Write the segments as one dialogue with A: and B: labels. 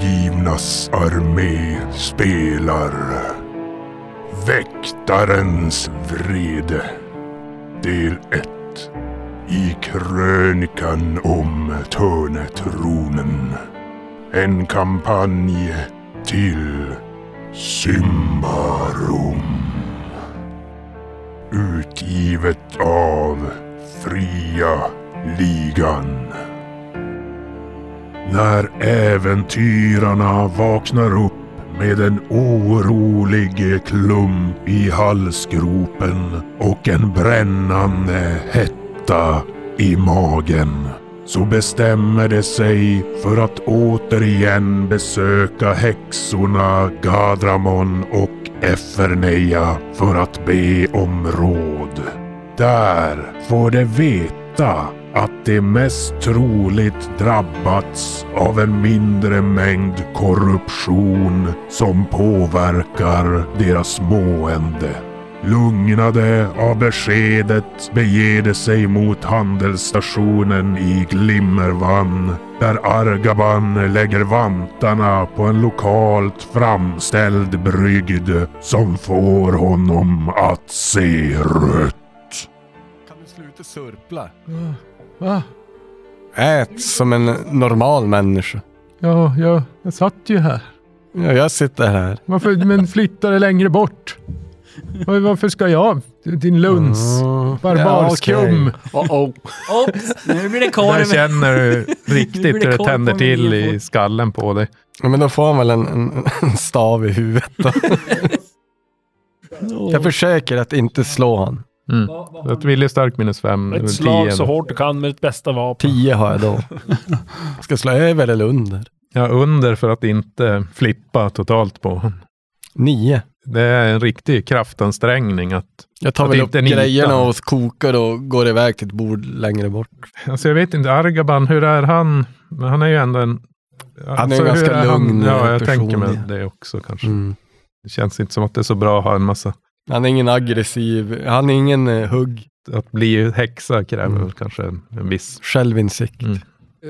A: Lejonas armé spelar Väktarens vrede Del 1 I krönikan om Törnetronen En kampanj till Symbarum Utgivet av Fria Ligan när äventyrarna vaknar upp med en orolig klump i halsgropen och en brännande hetta i magen. Så bestämmer de sig för att återigen besöka häxorna Gadramon och Eferneia för att be om råd. Där får de veta att det mest troligt drabbats av en mindre mängd korruption som påverkar deras mående. Lugnade av beskedet beger de sig mot handelsstationen i Glimmervann där Argaban lägger vantarna på en lokalt framställd brygd som får honom att se rött.
B: Kan du sluta sörpla?
C: Va?
D: Ät som en normal människa.
C: Ja, jag, jag satt ju här.
D: Ja, jag sitter här.
C: Varför, men flytta det längre bort. Var- Varför ska jag? Din luns.
D: Mm.
C: Barbarskum.
D: Ja, okej. Oh, oh.
E: Oops, nu blir det
C: Där
E: korv.
C: känner du
E: Nu blir
C: riktigt
E: det
C: hur det
E: koll
C: tänder
E: på
C: till
E: min
C: i skallen på dig.
D: Ja, men då får han väl en, en, en stav i huvudet då. Jag försöker att inte slå han.
C: Mm. Så Att Wille är stark minus fem.
F: Ett
C: minus
F: slag
C: tio.
F: så hårt du kan med ditt bästa vapen.
D: Tio har jag då. Ska slå över eller under?
C: Ja, under för att inte flippa totalt på honom.
D: Nio.
C: Det är en riktig kraftansträngning att...
D: Jag tar
C: Att
D: väl upp
C: inte nita.
D: grejerna och kokar och går iväg till ett bord längre bort.
C: Alltså jag vet inte, Argaban, hur är han? Men han är ju ändå en... Alltså,
D: är ju
C: hur
D: ganska lugn
C: Ja, jag
D: person,
C: tänker mig
D: ja. Mm.
C: det också kanske. Det känns inte som att det är så bra att ha en massa...
D: Han är ingen aggressiv, han är ingen eh, hugg,
C: Att bli häxa kräver
D: Mm.
C: väl kanske en, en viss...
D: självinsikt.
C: Mm.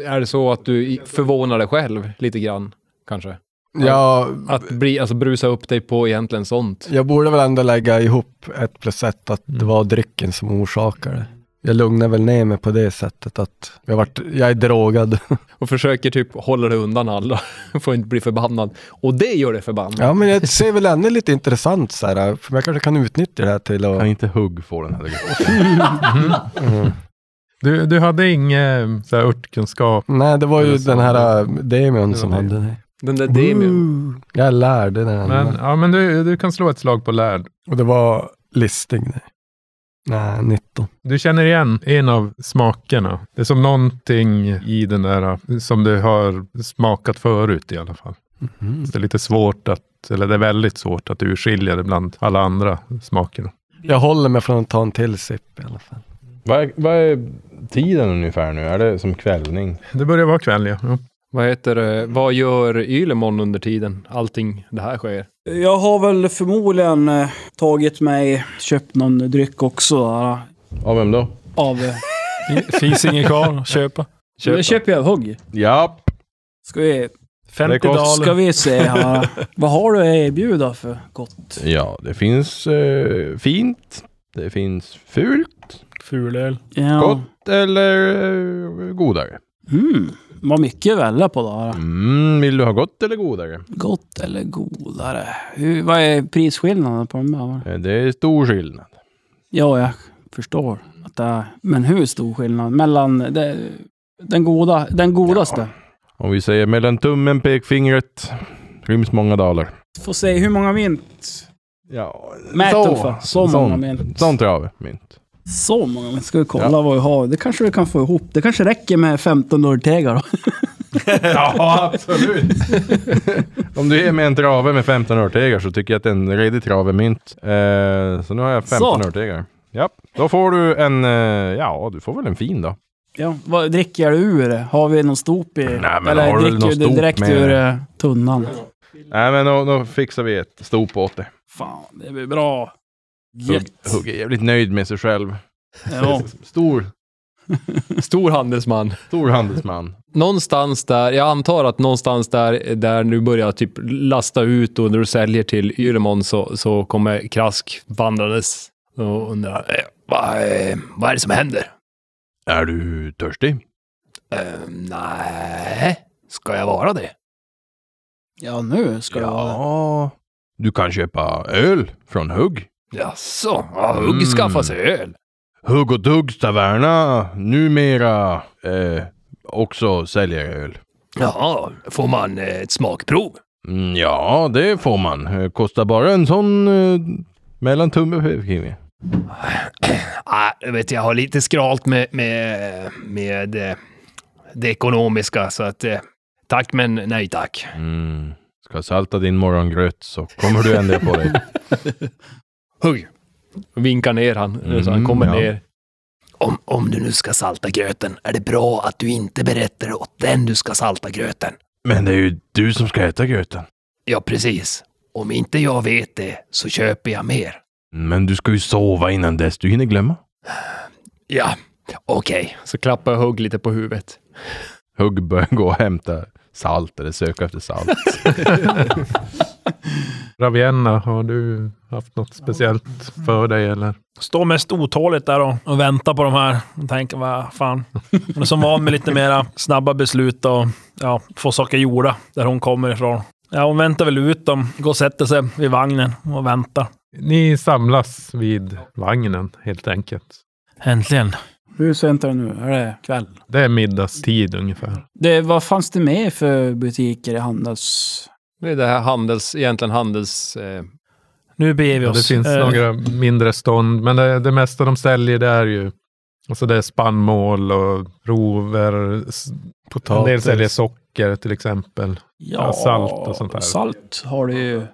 G: Är det så att du i- förvånar dig själv lite grann, kanske?
D: Ja,
G: Att bli, alltså brusa upp dig på egentligen sånt.
D: jag borde väl ändå lägga ihop ett plus ett, att det
C: Mm.
D: var drycken som orsakade det. Jag lugnar väl ner mig på det sättet att jag, varit, jag är drogad.
G: Och försöker typ hålla dig undan alla. Får inte bli förbannad. Och det gör dig förbannad.
D: Ja, men jag ser väl ännu lite intressant så här, för jag kanske kan utnyttja det här till att... Mm.
B: Kan inte hugg få den här grejen?
C: Du, du hade ingen så här, örtkunskap?
D: Nej, det var ju
C: Eller så.
D: den här äh, Demion
C: Det
D: som
C: var det.
D: hade det.
G: Den där Demion.
D: Woo! Jag lärde den.
C: Men, ja, men du, du kan slå ett slag på lärd.
D: Och det var listig. Nej, nej 19.
C: Du känner igen en av smakerna. Det är som någonting i den där eh, som du har smakat förut i alla fall. Så Det är lite svårt att, eller det är väldigt svårt att urskilja det bland alla andra smakerna.
D: Jag håller mig från att ta en till sipp i alla fall.
B: vad, är, vad är tiden ungefär nu? Är det som kvällning?
C: Det börjar vara kväll, ja. ja.
G: Vad heter det? Vad gör Ylemon under tiden? Allting det här sker.
H: Jag har väl förmodligen eh, tagit mig, köpt någon dryck också där,
B: Av vem då?
H: av... eh,
F: Finns ingen kvar att köpa.
H: Nu köper jag hugg.
B: Japp.
H: Ska vi,
F: 50
B: kostar-
F: daler.
H: ska vi se här. Vad har du att erbjuda för gott?
B: Ja, det finns eh, fint. Det finns fult.
F: Fulöl.
H: Ja.
B: Gott eller eh, godare?
H: Mm. Vad mycket att välja på där.
B: Mm, vill du ha gott eller godare?
H: Gott eller godare? Hur, vad är prisskillnaden på de här?
B: Eh, Det är stor skillnad.
H: Ja, jag förstår att det är... Men hur stor skillnad? Mellan det, den, goda, den godaste?
B: Om vi säger mellan tummen och pekfingret ryms många daler.
H: Får se hur många mynt?
B: Ja,
H: Mät ungefär. Så många mynt.
B: Sånt trav, mynt.
H: Så många mynt. Ska vi kolla vad vi har? Det kanske vi kan få ihop. Det kanske räcker med 15 örtegar då.
B: Ja, absolut. Om du ger mig en trave med 15 örtegar så tycker jag att det är en redig trave mynt. Eh, så nu har jag 15
H: Så.
B: örtegar. Ja, då får du en, eh, ja du får väl en fin då.
H: Ja, vad dricker du ur det? Har vi någon stop i?
B: Nej, men
H: Eller
B: har du
H: dricker
B: någon
H: du det
B: stop
H: direkt
B: med
H: ur
B: det?
H: eh, tunnan?
B: Nej men då, då fixar vi ett stop åt det.
H: Fan, det blir bra.
B: Hugg,
H: Jätte-
B: Hugg är jävligt nöjd med sig själv.
H: Ja.
B: Stor
G: Stor handelsman.
B: Stor handelsman.
G: Någonstans där, jag antar att någonstans där, där du börjar typ lasta ut och när du säljer till Ylemon så, så kommer Krask vandrandes och undrar eh, vad, eh, vad är det som händer?
B: Är du törstig?
G: Eh, nej, ska jag vara det?
H: Ja, nu ska jag vara det.
B: Du kan köpa öl från Hugg.
G: Jaså, ja, Hugg skaffar sig öl.
B: Hugg och Duggs taverna numera eh, också säljer öl.
G: Ja, får man eh, ett smakprov?
B: Mm, ja, det får man. Eh, Kostar bara en sån eh, mellan tumme och pekfinger.
G: Ah, jag vet jag har lite skralt med, med, med eh, det ekonomiska så att eh, tack men nej tack.
B: Mm. Ska salta din morgongröt så kommer du ändra på dig.
G: Hugg! Vinkar ner han, eh, så han
B: Mm,
G: kommer
B: ja.
G: ner. Om, om du nu ska salta gröten, är det bra att du inte berättar åt den du ska salta gröten?
B: Men det är ju du som ska äta gröten.
G: Ja, precis. Om inte jag vet det, så köper jag mer.
B: Men du ska ju sova innan dess. Du hinner glömma.
G: Ja, okej. Så klappar jag Hugg lite på huvudet.
B: Hugg börjar gå och hämta salt eller söka efter salt.
C: Ravienna, har du haft något speciellt för dig eller?
F: Står mest otåligt där och, och väntar på de här. Och tänker, vad fan. Hon är som van med lite mera snabba beslut och ja, få saker gjorda där hon kommer ifrån. Ja, hon väntar väl ut dem, går och sätter sig vid vagnen och väntar.
C: Ni samlas vid vagnen helt enkelt.
F: Äntligen.
H: Hur sent är det nu? Är det kväll?
C: Det är middagstid ungefär.
H: Det, vad fanns det med för butiker i Handels?
G: Det är det här handels, egentligen handels... Eh,
F: Nu beger vi
C: Ja,
F: oss.
C: det finns
F: Eh,
C: några mindre stånd, men det, det mesta de säljer det är ju alltså det är spannmål och rover. s- En del
D: Potatis.
C: säljer socker till exempel. Ja, salt och sånt där.
H: Salt har du ju.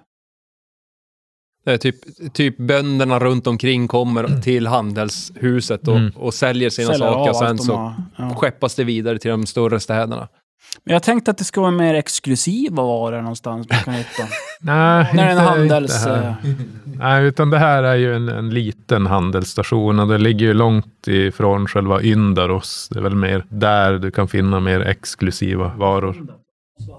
G: det är typ, typ bönderna runt omkring kommer till handelshuset och,
C: Mm.
G: och säljer sina
H: Säljer av
G: saker.
H: allt
G: Sen
H: de
G: så
H: har. Ja.
G: skeppas det vidare till de större städerna.
H: Men jag tänkte att det ska vara mer exklusiva varor någonstans man kan hitta.
C: Nej,
H: När en
C: inte,
H: handels...
C: inte här.
H: eh,
C: Nej, utan det här är ju en, en liten handelsstation och det ligger ju långt ifrån själva Yndaros. Det är väl mer där du kan finna mer exklusiva varor.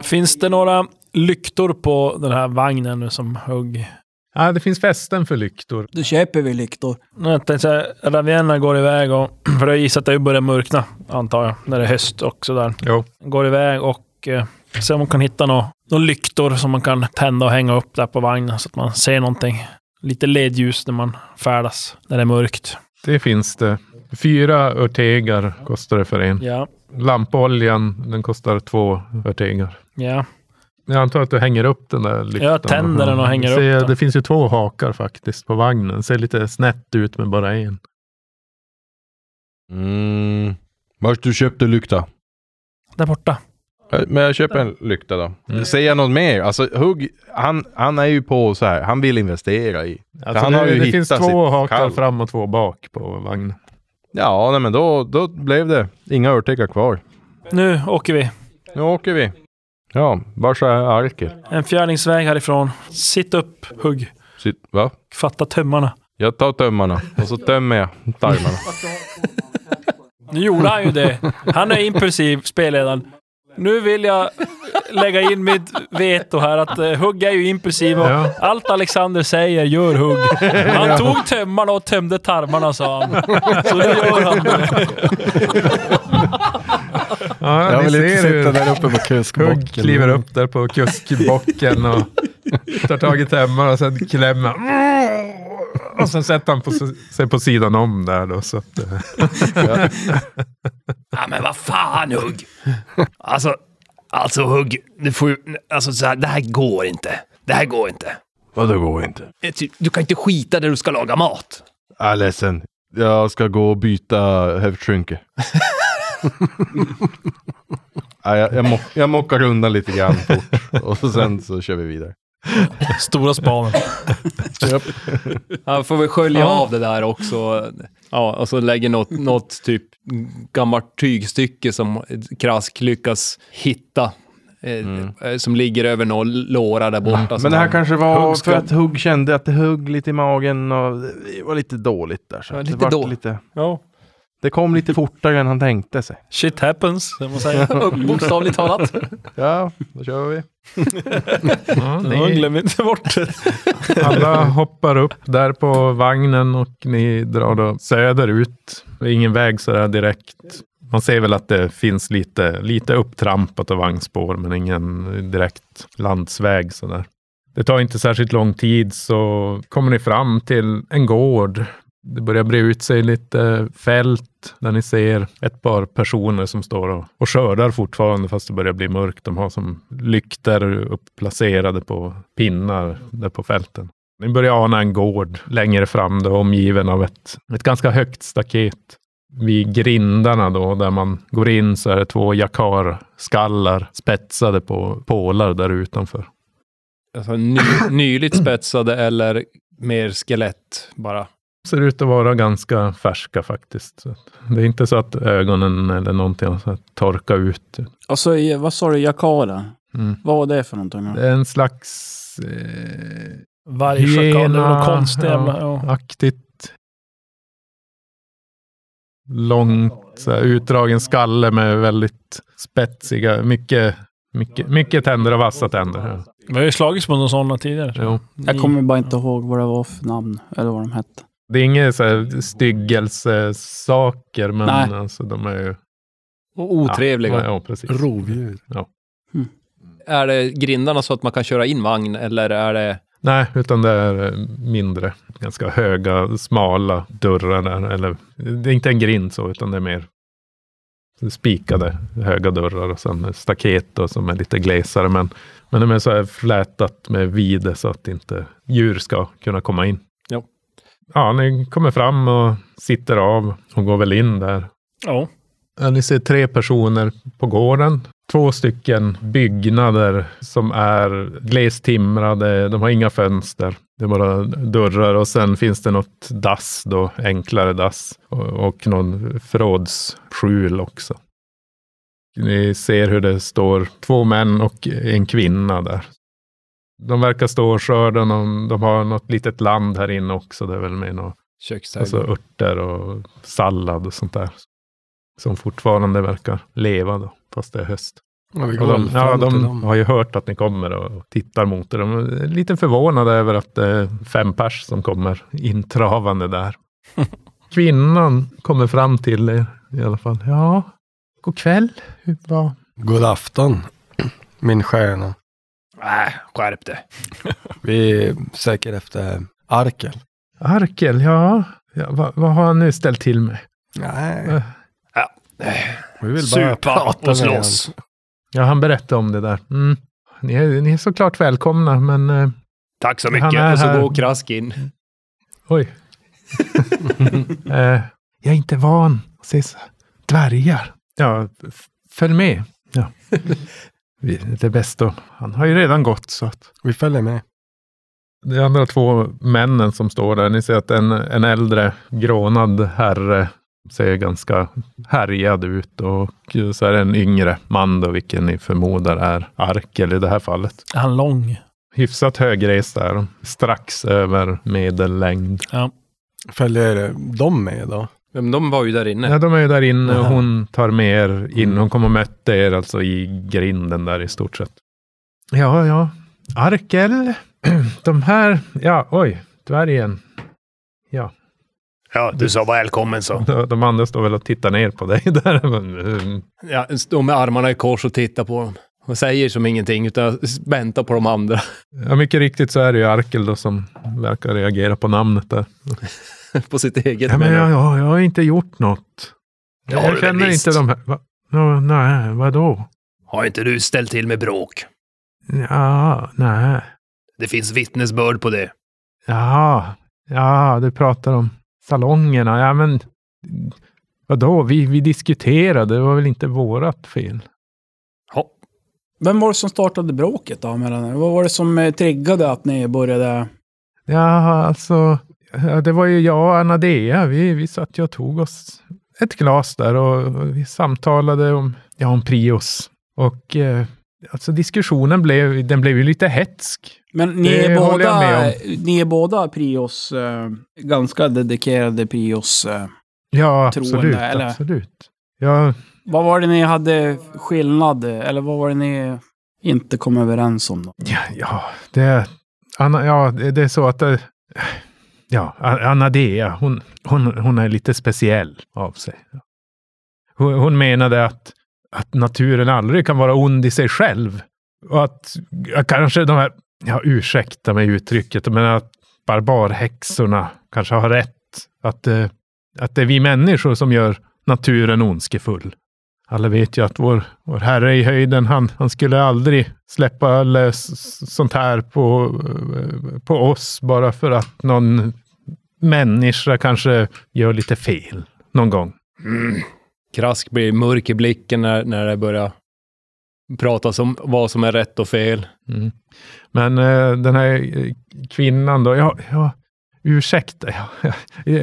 F: Finns det några lyktor på den här vagnen nu som hugg?
C: Ja, det finns fästen för lyktor.
H: Då köper vi lyktor.
F: Jag tänkte säga, Ravienna går iväg och... För jag gissar att det börjar mörkna, antar jag, när det är höst och sådär.
C: Jo.
F: Går iväg och eh, ser om hon kan hitta några nå lyktor som man kan tända och hänga upp där på vagnen så att man ser någonting. Lite ledljus när man färdas, när det är mörkt.
C: Det finns det. Fyra örtegar kostar det för en.
F: Ja,
C: Lampoljan, den kostar två örtegar.
F: ja.
C: Jag antar att du hänger upp den där lyktan.
F: Jag tänder den och hänger upp
C: Ser,
F: den.
C: Det finns ju två hakar faktiskt på vagnen. Ser lite snett ut med bara en.
B: Mm. Vart du köpte lykta?
F: Där borta.
B: Eh, Men jag köper en lykta då.
C: Mm.
B: Säger jag något mer? Alltså Hugg, han, han är ju på så här. Han vill investera i.
C: Alltså
B: han
C: det
B: har ju
C: det finns
B: hittat
C: två
B: sitt
C: hakar
B: kall.
C: fram och två bak på vagnen.
B: Ja, nej, men då, då blev det inga örtegar kvar.
F: Nu åker vi.
B: Nu åker vi. Ja, vars är arket?
F: En fjärdingsväg härifrån. Sitt upp, hugg.
B: Sitt, va?
F: Fatta tömmarna.
B: Jag tar tömmarna och så tömmer jag tarmarna.
F: Nu gjorde han ju det. Han är impulsiv, spelledaren. Nu vill jag lägga in mitt veto här att eh, Hugg är ju impulsiv och
C: Ja.
F: allt Alexander säger gör Hugg. Han tog tömmarna och tömde tarmarna sa han. Så nu gör han det.
C: Ja,
D: Jag
C: ni
D: vill inte
C: ser hur
D: sitta där uppe på kuskbocken.
C: Hugg kliver upp där på kuskbocken och tar tag i tömmar och sen klämmer. Och sen sätter han på, sig på sidan om där då. Så att, eh,
G: Ja men vad fan Hugg! Alltså, alltså Hugg, du får ju, alltså så här, det här går inte. Det här går inte.
B: Vadå går inte?
G: Eh, ty- Du kan inte skita där du ska laga mat.
B: Jag är ledsen. Jag ska gå och byta höftskynke. Nej, jag, jag, mo- jag mockar undan lite grann fort och sen så kör vi vidare.
F: Stora spanen.
G: Han får väl skölja av det där också. Ja, och så lägger något, något typ gammalt tygstycke som Krask lyckas hitta. eh,
C: Mm.
G: eh, Som ligger över någon låra där borta. som
B: Men det här
G: han-
B: kanske var
G: Hugg ska-
B: för att Hugg kände att det hugg lite i magen och det var lite dåligt där. Så
G: Ja,
B: att
G: lite
B: det vart
G: då-
B: lite...
G: Ja.
B: Det kom lite fortare än han tänkte sig.
F: Shit happens, som man säger.
G: Bokstavligt talat.
B: Ja, då kör vi.
C: Ja, det
F: Ja,
C: är,
F: Glöm inte bort det.
C: alla hoppar upp där på vagnen och ni drar då söderut. Det är ingen väg sådär direkt. Man ser väl att det finns lite, lite upptrampat och vagnspår, men ingen direkt landsväg sådär. Det tar inte särskilt lång tid så kommer ni fram till en gård. Det börjar bre ut sig lite fält där ni ser ett par personer som står och, och skördar fortfarande fast det börjar bli mörkt. De har som lykter uppplacerade på pinnar där på fälten. Ni börjar ana en gård längre fram, då, omgiven av ett, ett ganska högt staket. Vid grindarna då, där man går in, så är det två jakarskallar spetsade på pålar där utanför.
G: Alltså, ny, nyligt spetsade eller mer skelett bara.
C: ser ut att vara ganska färska faktiskt. Så att det är inte så att ögonen eller någonting har så här torkat ut.
H: Och så, Alltså, i- vad sa du, Jakara?
C: Mm.
H: Vad var det för någonting? då?
C: Det är en slags eh,
F: Vargschakal, det är något
C: Hyena,
F: konstigt jävla... Ja.
C: aktigt långt så här, utdragen skalle med väldigt spetsiga, mycket, mycket, mycket tänder och vassa tänder. Ja.
F: Vi har ju slagits mot några sådana tidigare.
C: Jo.
H: Jag kommer bara inte ihåg vad det var för namn, eller vad de hette.
C: Det är inga så här styggelsesaker, men
H: Nej.
C: alltså, de är ju...
G: Och otrevliga.
C: Ja, ja, precis.
D: Rovdjur.
G: Är det grindarna så att man kan köra in vagn eller är det...
C: Nej, utan det är eh, mindre, ganska höga, smala dörrar där. Eller, det är inte en grind så, utan det är mer spikade höga dörrar och sen staket då, som är lite glesare. Men, men de är så här flätat med vide så att inte djur ska kunna komma in.
G: Ja.
C: Ja, ni kommer fram och sitter av och går väl in där.
F: Ja.
C: Ja, ni ser tre personer på gården. Två stycken byggnader som är glest timrade. De har inga fönster. Det är bara dörrar och sen finns det något dass då, enklare dass och, och någon förrådsskjul också. Ni ser hur det står två män och en kvinna där. De verkar stå och skörda. någon- De har något litet land här inne också. Det är väl med något
G: Köksträdgård.
C: Alltså örter och sallad och sånt där. Som fortfarande verkar leva då, fast det är höst.
D: Ja, vi
C: Och de, ja,
D: fram till
C: de
D: dem.
C: har ju hört att ni kommer och tittar mot er. De är lite förvånade över att det är fem pers som kommer intravande där. Kvinnan kommer fram till er i alla fall. Ja, god kväll. Hur var
D: God afton, min stjärna.
F: Äh,
G: Nej, skärp det.
D: Vi söker efter Arkel.
C: Arkel? Ja, ja vad, vad har han nu ställt till med?
D: Nej. Vi vill bara
F: Supa
D: prata
F: och
D: med
F: slåss.
C: Ja, han berättade om det där. Mm. Ni, är, ni är såklart välkomna, men eh,
G: Tack så
C: Han är
G: mycket. Och så
C: här.
G: går Krask in.
C: Oj. Eh, jag är inte van att se så dvärgar. Ja, f- följ med. Ja. Vi- Det är bäst då. Han har ju redan gått så att.
D: Vi följer med.
C: De andra två männen som står där, ni ser att en, en äldre grånad herre ser ganska härjad ut och så är det en yngre man då, vilken ni förmodar är Arkel i det här fallet.
F: Är han lång?
C: Hyfsat högrest är de, strax över medellängd.
D: Följer de med då?
G: Men de var ju där inne.
C: Ja, de är ju där inne och
D: Aha.
C: hon tar med er
E: Mm.
C: in. Hon kommer och mötte er alltså i grinden där i stort sett. Ja, ja. Arkel. De här. Ja, oj. Dvärgen.
E: Ja, du sa välkommen så.
C: De andra står väl och tittar ner på dig där. Mm.
G: Ja, står med armarna i kors och tittar på dem. Och säger som ingenting, utan väntar på de andra.
C: Ja, mycket riktigt så är det ju Arkel då som verkar reagera på namnet där.
G: på sitt eget.
C: Ja, men
G: menar
C: jag,
G: du?
C: jag, jag har inte gjort något.
E: Det har
C: jag
E: du väl
C: känner
E: visst.
C: inte de här. Va? Nå, nej, vadå?
E: Har inte du ställt till med bråk?
C: Ja, nej.
E: Det finns vittnesbörd på det.
C: Jaha, ja, du pratar om salongerna. Ja, men vadå, vi, vi diskuterade, det var väl inte vårat fel?
E: Ja,
H: Vem var det som startade bråket då? Mellan er? Vad var det som eh, triggade att ni började...
C: Ja, alltså, ja, det var ju jag och Anadea, vi, vi satt ju och tog oss ett glas där och, och vi samtalade om, ja, om Prius. Och eh, alltså diskussionen blev, den blev ju lite hetsk.
H: Men ni
C: Det
H: är,
C: håller jag
H: båda,
C: med
H: ni är båda prios, eh, ganska dedikerade prios eh,
C: Ja,
H: Troende,
C: absolut.
H: eller?
C: absolut. Ja,
H: Vad var det ni hade skillnad, eller vad var det ni inte kom överens om? Då?
C: ja, ja, det, är- Anna, ja, det det är så att... eh, Ja, A- Anna Dea, hon, hon, hon är lite speciell av sig. Hon, hon menade att, att naturen aldrig kan vara ond i sig själv. Och att ja, kanske de här, ja, ursäkta mig uttrycket, men att barbarhäxorna kanske har rätt. Att, eh, att det är vi människor som gör naturen ondskefull. Alla vet ju att vår, vår herre i höjden, han, han skulle aldrig släppa lös sånt här på, eh, på oss bara för att någon människa kanske gör lite fel någon gång.
G: Krask blir mörk i blicken när, när det börjar pratas om vad som är rätt och fel.
C: Men eh, den här eh, kvinnan då, ja, ja ursäkta, ja,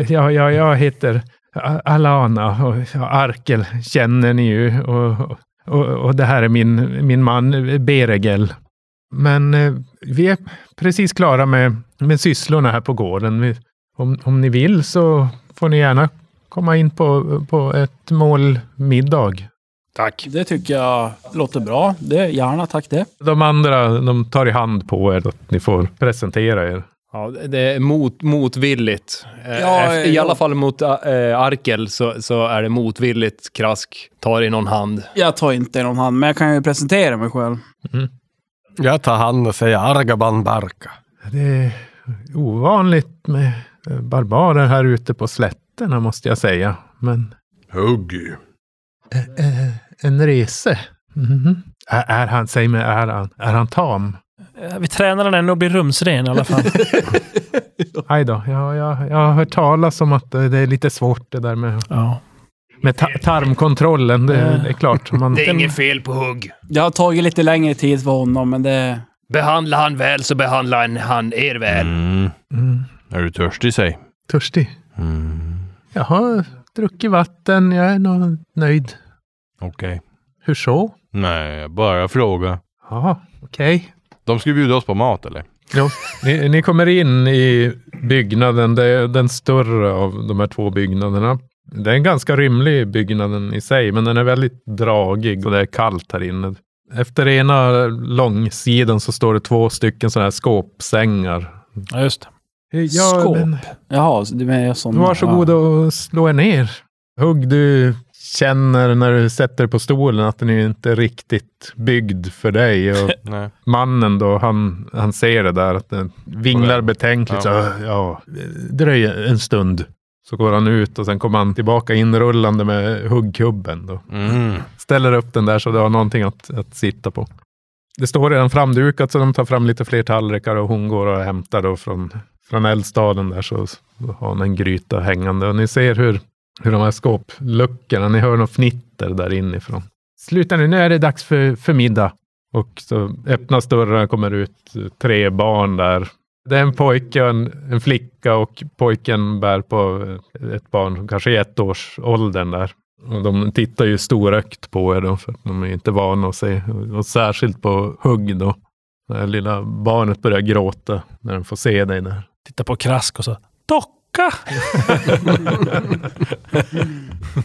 C: ja, ja, jag heter A- Alana och ja, Arkel känner ni ju och, och, och det här är min, min man Beregel. Men eh, vi är precis klara med, med sysslorna här på gården. Vi, om, om ni vill så får ni gärna komma in på, på ett mål middag.
E: Tack.
H: Det tycker jag låter bra. Det, gärna, tack det.
C: De andra, de tar i hand på er att ni får presentera er.
G: Ja, det det är mot, motvilligt. Eh,
H: Ja,
G: efter- I
H: ja.
G: alla fall mot eh, Arkel så, så är det motvilligt. Krask tar i någon hand.
H: Jag tar inte någon hand, men jag kan ju presentera mig själv.
D: Jag tar hand och säger Argaban Barka.
C: Det är ovanligt med eh, barbarer här ute på slätterna måste jag säga. Men
A: Huggy.
C: eh, en rese. Mhm. Är, är han, säg mig, är han, är han tam?
F: Eh, Vi tränar den ändå att bli rumsren i alla fall.
C: Aj då, ja, ja, jag har hört talas om att eh, det är lite svårt det där med,
F: ja.
C: med ta- tarmkontrollen. Det, det är klart. Man,
E: Eh. Det är inget fel på hugg.
H: Det har tagit lite längre tid för honom, men det...
E: Behandla han väl så behandlar han- han er väl.
B: Mm.
C: mm,
B: Är du törstig, säg?
C: törstig.
B: Mm.
C: Jag har druckit vatten, jag är nog nöjd.
B: Okej.
C: Hur så?
B: Nej, jag bara fråga.
C: Ja, okej.
B: De ska bjuda oss på mat, eller?
C: Jo, ni, ni kommer in i byggnaden, det är den större av de här två byggnaderna. Det är en ganska rymlig byggnaden i sig, men den är väldigt dragig och det är kallt här inne. Efter ena långsidan så står det två stycken sådana här skåpsängar.
F: ja, just det.
C: Ja,
H: Skåp?
C: men
H: Jaha, så du menar sån...
C: varsågod
H: ja.
C: och slå er ner. Hugg, du känner när du sätter dig på stolen att den är inte riktigt byggd för dig. Och
B: Nej.
C: mannen då, han, han ser det där, att den vinglar betänkligt.
B: Ja.
C: Så, ja, dröj en stund. Så går han ut och sen kommer han tillbaka inrullande med huggkubben. Då.
B: Mm.
C: Ställer upp den där så du har någonting att, att sitta på. Det står redan framdukat så de tar fram lite fler tallrikar och hon går och hämtar då från, från eldstaden där så så har hon en gryta hängande. Och ni ser hur, hur de här skåpluckorna, ni hör något fnitter där inifrån. Sluta nu, nu är det dags för, för middag. Och så öppnas dörrarna, kommer ut eh, tre barn där. Det är en pojke och en, en flicka och pojken bär på eh, ett barn som kanske är ett års åldern där. Och de tittar ju storögt på er då, för att de är inte vana att se. Och särskilt på hugg då. Det här lilla barnet börjar gråta när den får se dig där.
F: Titta på Krask och så. Docka!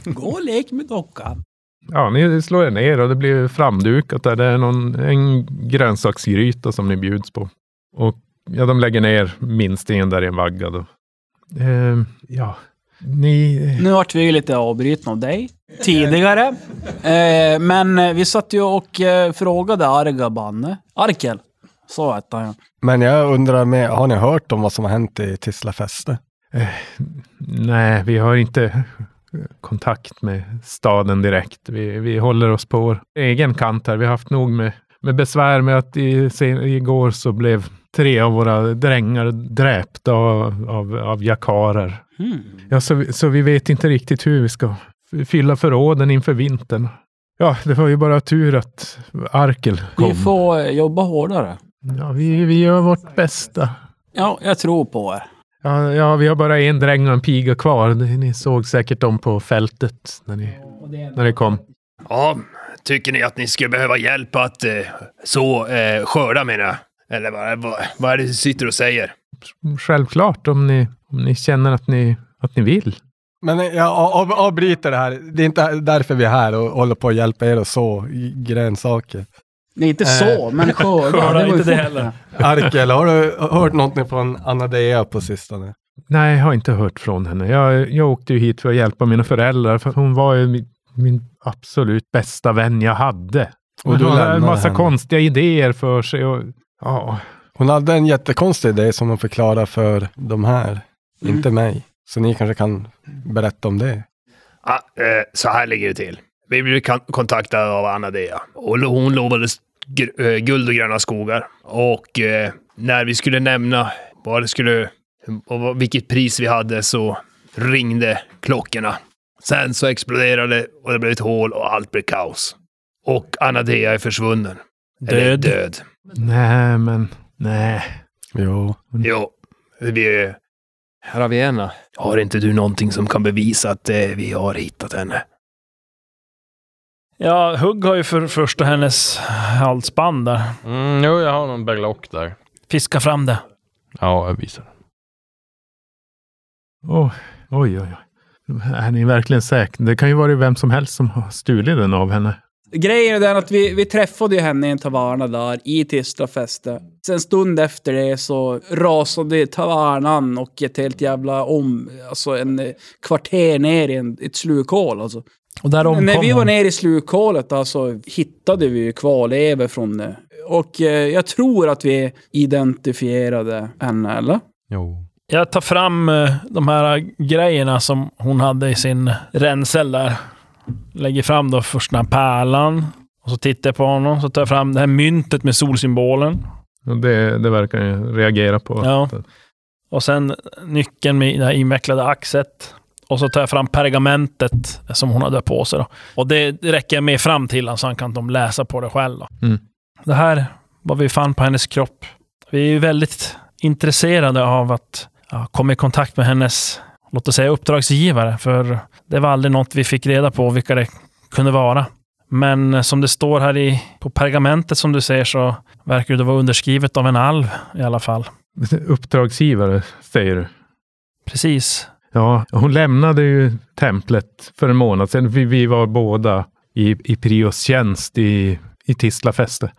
H: Gå och lek med dockan.
C: Ja, ni slår er ner och det blir framdukat där. Det är någon, en grönsaksgryta som ni bjuds på. Och ja, de lägger ner minstingen där i en vagga då. Eh, ja, ni... eh,
H: Nu vart vi ju lite avbrutna av dig tidigare. Eh, men eh, vi satt ju och eh, frågade Argaban. Arkel, så hette han ju.
D: Men jag undrar med, har ni hört om vad som har hänt i Tislafäste?
C: Nej, vi har inte kontakt med staden direkt. Vi, vi håller oss på vår egen kant här. Vi har haft nog med, med besvär med att i, sen, igår så blev tre av våra drängar dräpta av, av, av jakarer.
H: Hmm.
C: Ja, så, vi- så vi vet inte riktigt hur vi ska f- fylla förråden inför vintern. Ja, det var ju bara tur att Arkel kom.
H: Vi får eh, jobba hårdare.
C: Ja, vi, vi gör vårt bästa.
H: Ja, jag tror på er.
C: Ja, ja, vi har bara en dräng och en piga kvar. Ni ni såg säkert dem på fältet när ni, när ni kom.
E: Ja, tycker ni att ni skulle behöva hjälp att eh, så eh, skörda menar jag? Eller vad, vad, vad är det du sitter och säger?
C: Självklart om ni, om ni känner att ni, att ni vill.
D: Men jag av, avbryter det här. Det är inte därför vi är här och håller på att hjälpa er att så grönsaker.
H: Nej, inte så, men skörda.
F: Skörda,
H: var ju
F: Eh. inte det
H: fort.
F: heller.
D: Arkel, har du hört någonting från Anadea på sistone?
C: Nej, jag har inte hört från henne. Jag, jag åkte ju hit för att hjälpa mina föräldrar. För hon var ju min, min absolut bästa vän jag hade.
D: Och
C: Och
D: du
C: hon hade en
D: lämnade
C: massa
D: henne.
C: konstiga idéer för sig. Och, ja,
D: Hon hade en jättekonstig idé som hon förklarade för de här,
C: Mm.
D: inte mig. Så ni kanske kan berätta om det.
E: Ah, eh, så här ligger det till. Vi blev kan- kontaktade av Anadea och lo- hon lovade s- gr- eh, guld och gröna skogar. Och eh, när vi skulle nämna vad det skulle, och vad- vilket pris vi hade så ringde klockorna. Sen så exploderade det och det blev ett hål och allt blev kaos. Och Anadea är försvunnen. Eller
F: Död.
E: död.
C: nej, men nej.
D: Jo.
E: Jo, vi,
G: Raviena.
E: har inte du någonting som kan bevisa att eh, vi har hittat henne?
F: Ja, Hugg har ju för första hennes halsband där.
B: Mm, jo, jag har någon berlock där.
F: Fiska fram det.
B: Ja, jag visar.
C: Oh, oj, oj, oj. Är ni verkligen säkra? Det kan ju vara vem som helst som har stulit den av henne.
H: Grejen är den att vi, vi träffade ju henne i en taverna där i Tistrafäste. Sen en stund efter det så rasade tavernan och ett helt jävla om... Alltså en eh, kvarter ner i en, ett slukhål alltså.
F: Och där omkom
H: När vi var
F: hon.
H: nere i slukhålet alltså, hittade vi ju kvarlevor från det. Och eh, jag tror att vi identifierade henne, eller?
B: Jo.
F: Jag tar fram eh, de här grejerna som hon hade i sin ränsel där. Lägger fram då först den här pärlan. Och så tittar jag på honom. Så tar jag fram det här myntet med solsymbolen.
C: Och Det, det verkar ju reagera på.
F: Ja. Och sen nyckeln med det här invecklade axet. Och så tar jag fram pergamentet som hon hade på sig. Då. Och det räcker jag med fram till honom så han kan de läsa på det själv. Då.
C: Mm.
F: Det här vad vi fann på hennes kropp. Vi är ju väldigt intresserade av att ja, komma i kontakt med hennes, låt oss säga uppdragsgivare. För det var aldrig något vi fick reda på vilka det kunde vara. Men som det står här i, på pergamentet som du ser så verkar det vara underskrivet av en alv i alla fall.
C: Uppdragsgivare, säger du.
F: Precis.
C: Ja, hon lämnade ju templet för en månad sedan. Vi, vi var båda i, i Prios tjänst i, i Tislafäste.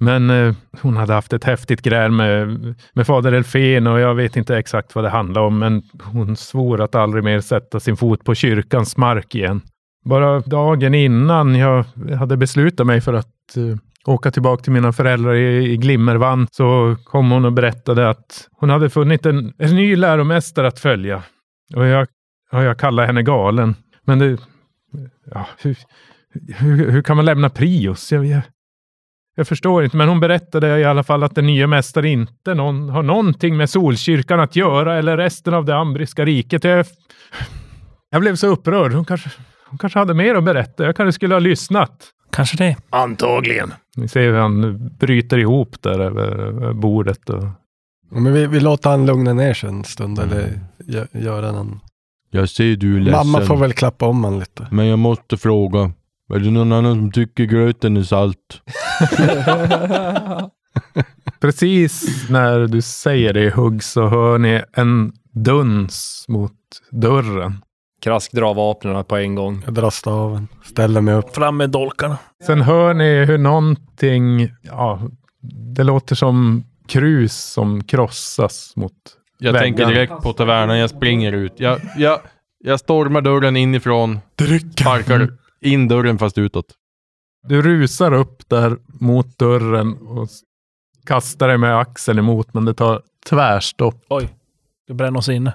C: Men eh, hon hade haft ett häftigt gräl med, med fader Elfen och jag vet inte exakt vad det handlade om, men hon svor att aldrig mer sätta sin fot på kyrkans mark igen. Bara dagen innan jag hade beslutat mig för att eh, åka tillbaka till mina föräldrar i, i Glimmervann så kom hon och berättade att hon hade funnit en, en ny läromästare att följa. Och jag, ja, jag kallar henne galen. Men det, ja, hur, hur, hur kan man lämna Prius? Jag, jag, jag förstår inte, men hon berättade i alla fall att den nya mästaren inte någon, har någonting med Solkyrkan att göra eller resten av det ambriska riket. Jag, jag blev så upprörd. Hon kanske, hon kanske hade mer att berätta. Jag kanske skulle ha lyssnat.
F: Kanske det.
E: Antagligen.
C: Ni ser hur han bryter ihop där över över bordet. Och,
D: Men vi, vi låter han lugna ner sig en stund
C: Mm.
D: eller gö- göra någon.
B: Jag ser du är
D: Mamma får väl klappa om han lite.
B: Men jag måste fråga. Är det någon annan som tycker gröten är salt?
C: Precis när du säger det Hugg så hör ni en duns mot dörren.
G: Krask drar vapnen på en gång.
D: Jag drar staven, ställer mig upp.
F: Fram med dolkarna.
C: Sen hör ni hur någonting, ja, det låter som krus som krossas mot...
B: Jag
C: Väggar.
B: tänker direkt på tavernan. Jag springer ut. Jag, jag, jag stormar dörren inifrån. Sparkar in dörren fast utåt.
C: Du rusar upp där mot dörren och s- kastar dig med axeln emot, men det tar tvärstopp.
F: Ska bränna oss inne.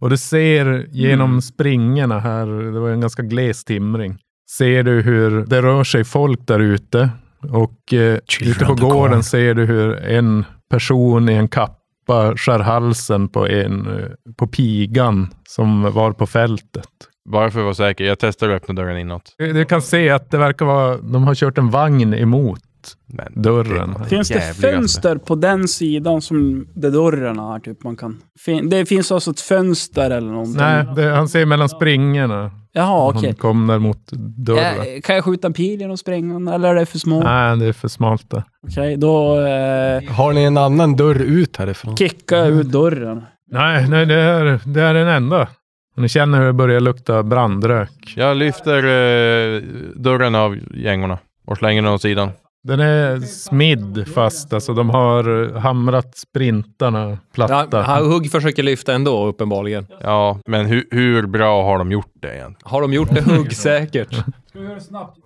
C: Och du ser genom
H: Mm.
C: springorna här, det var en ganska gles timring, ser du hur det rör sig folk där ute. Och eh, ute på gården ser du hur en person i en kappa skär halsen på, en, eh, på pigan som var på fältet. Eh,
B: Bara för att vara säker. Jag testar att öppna dörren inåt.
C: Du du kan se att det verkar vara, de har kört en vagn emot
B: Men
C: dörren. här.
H: Finns det
B: Jävligaste.
H: fönster på den sidan som där dörren är? Typ man kan... Fin- det finns alltså ett fönster eller någonting?
C: Nej, det, han ser mellan springorna.
H: Jaha, okej. Eh,
C: Han kom där mot dörren.
H: Ja, kan jag skjuta en pil genom springan eller är det för små?
C: Nej, det är för smalt där.
H: Okej, då eh,
D: Har ni en annan dörr ut härifrån?
H: kickar jag ut dörren.
C: Nej, nej det, är, det är den enda. Och ni känner hur det börjar lukta brandrök.
B: Jag lyfter eh, dörren av gängorna och slänger den åt sidan.
C: Den är smidd fast, alltså de har eh, hamrat sprintarna
G: Ja,
C: platta.
G: han- Hugg försöker lyfta ändå uppenbarligen.
B: Ja, men hu hur bra har de gjort det egentligen?
G: Har de gjort det Hugg säkert?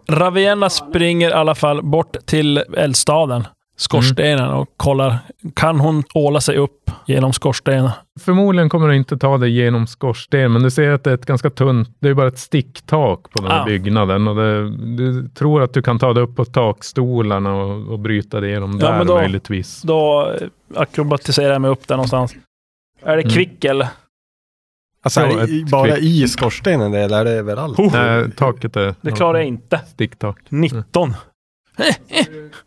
F: Ravenna springer i alla fall bort till eldstaden, skorstenen, och kollar. Kan hon åla sig upp genom skorstenen?
C: Förmodligen kommer du inte ta dig genom skorsten, men du ser att det är ett ganska tunt, det är bara ett sticktak på den här
F: Ah.
C: byggnaden. Och det, du tror att du kan ta dig upp på takstolarna och, och bryta dig igenom
F: Ja,
C: där
F: men då-
C: möjligtvis.
F: Då eh, akrobatiserar jag mig upp där någonstans. Är det
C: Mm.
F: kvick eller?
D: Alltså, är
C: Ja,
D: det
C: ett
D: i- bara
C: klick.
D: i skorstenen det, eller är det överallt?
C: Nej, taket är
F: Det klarar jag inte.
C: sticktak.
F: 19. Eh, eh,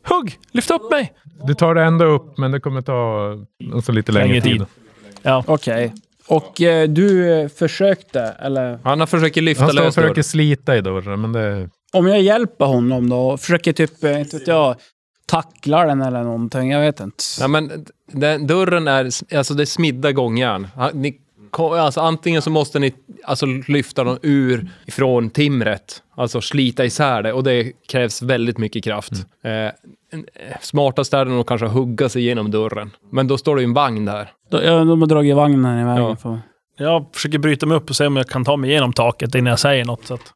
F: Hugg! Lyft upp mig!
C: Du tar det ändå upp, men det kommer ta alltså, lite längre,
F: Längre tid.
C: tid.
H: Okej. Och eh, du eh, försökte, eller
G: Han försöker lyfta
C: Han står och
G: lös dörren.
C: försöker slita i dörren, men det...
H: om jag hjälper honom då och försöker typ, eh, inte vet jag, tackla den eller någonting. Jag vet inte.
G: Ja, men den, dörren är, s- alltså det är smidda gångjärn. Han- Ni, ko- alltså, antingen så måste ni alltså, lyfta dem ur ifrån timret, alltså slita isär det och det krävs väldigt mycket kraft.
C: Mm.
G: Eh, en- eh, smartast är det nog att kanske hugga sig igenom dörren, men då står det ju en vagn där.
H: Då- ja, De har dragit vagnen i vägen.
G: Ja.
H: För...
F: Jag försöker bryta mig upp och se om jag kan ta mig igenom taket innan jag säger något. Så att...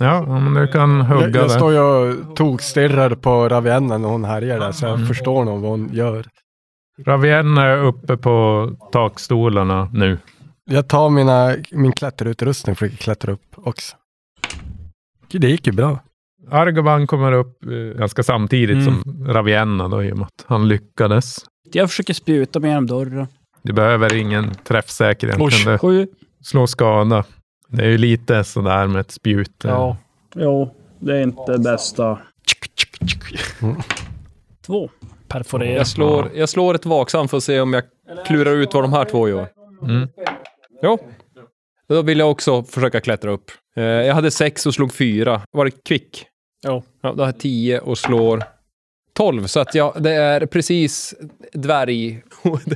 C: Ja, men du kan hugga
D: Jag, jag
C: där.
D: står ju och tokstirrar på Ravienna när hon härjar där, så jag
C: Mm.
D: förstår nog vad hon gör.
C: Ravienna är uppe på takstolarna nu.
D: Jag tar mina, min klätterutrustning och försöker klättra upp också. Gud, Det gick ju bra.
C: Argoban kommer upp eh, ganska samtidigt
F: Mm.
C: som Ravienna då, i och med att han lyckades.
H: Jag försöker spjuta mig genom dörren.
C: Du behöver ingen träffsäker
F: Usch.
C: egentligen.
H: Sju.
C: Det slår skada. Det är ju lite sådär med ett spjut. eh.
F: Ja.
H: Jo, det är inte bästa. Två.
F: Perforera.
G: Jag slår, jag slår ett vaksamt för att se om jag klurar ut vad de här två gör.
C: Mm.
G: Jo. Då vill jag också försöka klättra upp. Eh, jag hade sex och slog fyra. Var det kvick?
F: Ja.
G: ja då har jag tio och slår tolv. Så att jag, det är precis dvärg.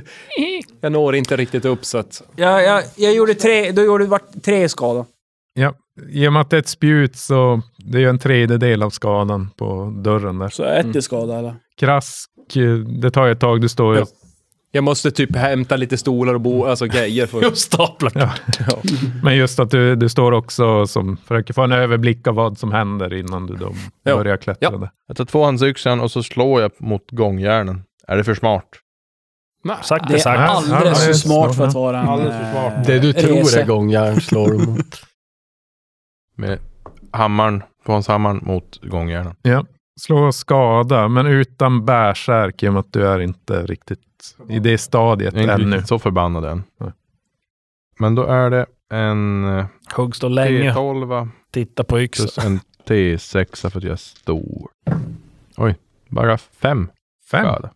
G: jag når inte riktigt upp så att...
H: Ja, jag, jag gjorde tre, då gjorde det vart tre skador.
C: ja. I och med att det är ett spjut så det är ju en tredjedel av skadan på dörren där.
H: Så ett
G: Mm.
H: är skada eller?
C: Krask, eh, det tar ju ett tag. Du står ju
G: Ja. Jag måste typ hämta lite stolar och bo, alltså grejer för...
F: Jag staplar.
C: Men just att du, du står också som försöker få en överblick av vad som händer innan du då
G: Ja.
C: börjar klättra.
G: Ja.
C: där.
B: Jag tar tvåhandsyxan och så slår jag mot gångjärnen. Är det för smart?
G: Nej.
F: Sagt
H: Det
F: är
H: är
F: sagt.
C: all- Ja,
H: alldeles
C: det är
H: för smart för att
C: smart.
H: vara en...
C: Alldeles för smart.
H: eh,
D: Det du tror
H: resa.
D: är gångjärn slår hon mot.
B: Med hammaren, tvåhandshammaren mot gångjärnen.
C: Slå och skada, men utan bärsärk i och med att du är inte riktigt i det stadiet
B: Jag är inte
C: ännu.
B: riktigt så förbannad än.
C: Nej.
B: Men då är det en eh,
F: Hugg står länge.
B: T12
F: Titta på yxan.
B: plus en T6 för att jag är stor. Oj, bara fem
C: Fem.
B: skada.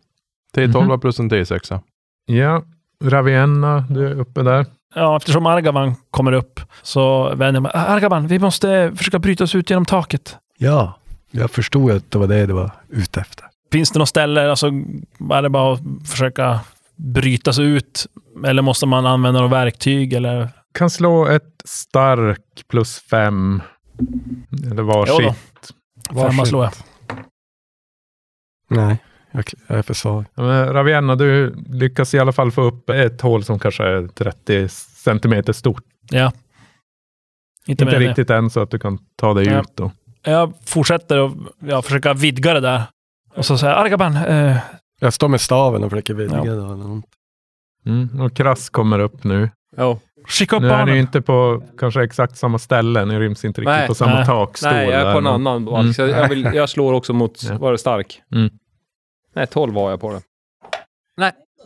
B: T12
C: Mhm.
B: plus en T6.
C: Ja, Ravienna, du är uppe där.
F: Ja, eftersom Argaban kommer upp så vänder jag mig. Argaban, vi måste försöka bryta oss ut genom taket.
D: Ja, jag förstod att det var det du var ute efter.
F: Finns det något ställe, alltså är det bara att försöka bryta sig ut? Eller måste man använda något verktyg eller?
C: Kan slå ett stark plus fem. Eller
F: Jo då.
C: varsitt.
F: Femma slår jag.
D: Nej, jag, jag är för svag.
C: Ja, men Ravienna, du lyckas i alla fall få upp ett hål som kanske är 30 centimeter stort.
F: Ja.
C: Inte,
F: Inte, mer än det.
C: riktigt än så att du kan ta dig
F: Nej.
C: ut då.
F: Jag fortsätter och ja, försöka vidga det där. Och så säger jag, Argaban, eh,
D: Jag står med staven och försöker vidga
F: Ja.
D: det. eller något.
C: Mm. Och Krass kommer upp nu.
G: Ja.
F: skicka upp
C: Nu är ni ju
F: barnen.
C: inte på kanske exakt samma ställe. Ni ryms inte riktigt
G: Nej.
C: på samma
F: Nej.
C: takstol.
G: Nej, jag är
C: där,
G: på en
C: men-
G: annan balk.
C: Mm.
G: Så jag, vill, jag slår också mot...
C: Ja.
G: Var det stark?
C: Mm.
G: Nej, 12 var jag på den.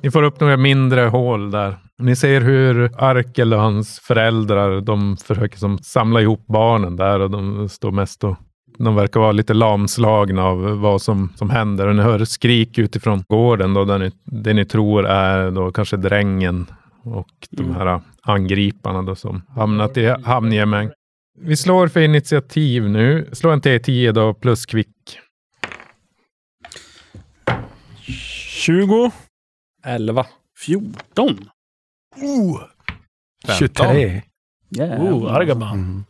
C: Ni får upp några mindre hål där. Ni ser hur Arkel och hans föräldrar, de försöker som samla ihop barnen där och de står mest och de verkar vara lite lamslagna av vad som, som händer. Och ni hör skrik utifrån gården då, där ni, det ni tror är då kanske drängen och de här angriparna då som hamnat i hamngemäng. Vi slår för initiativ nu. Slå en T10 då, plus kvick.
F: 20.
G: 11.
H: 14.
D: 23.
H: Yeah.
F: Oh, Argaban.
D: Mm.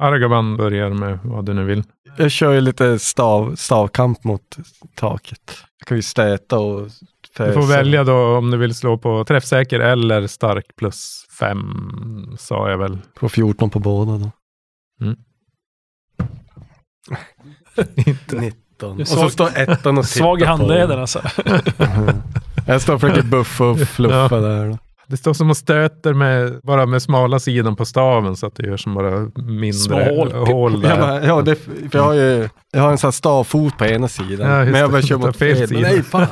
C: Argaban börjar med vad du nu vill.
D: Jag kör ju lite stav, stavkamp mot taket. Jag kan ju stöta och
C: Du
D: Eh,
C: får välja då om du vill slå på träffsäker eller stark plus fem, sa jag väl.
D: På 14 på båda då.
C: Mm.
D: Inte. 19.
F: Jag
D: Och så
F: svag-
D: står ettan och tittar
F: Svag i
D: på
F: handleden alltså.
D: Mhm. Jag står och försöker buffa och fluffa där. Då.
C: Det står som att stöter med, bara med smala sidan på staven så att det gör som bara mindre
F: Små hål.
C: där.
D: Jag, bara, ja, det, för jag, har ju, jag har en sån här stavfot på ena sidan.
C: Ja, just
D: men jag
C: det.
D: börjar köra
C: Du tar
D: mot
C: fel
D: fel. Men
C: sida.
D: nej, fan.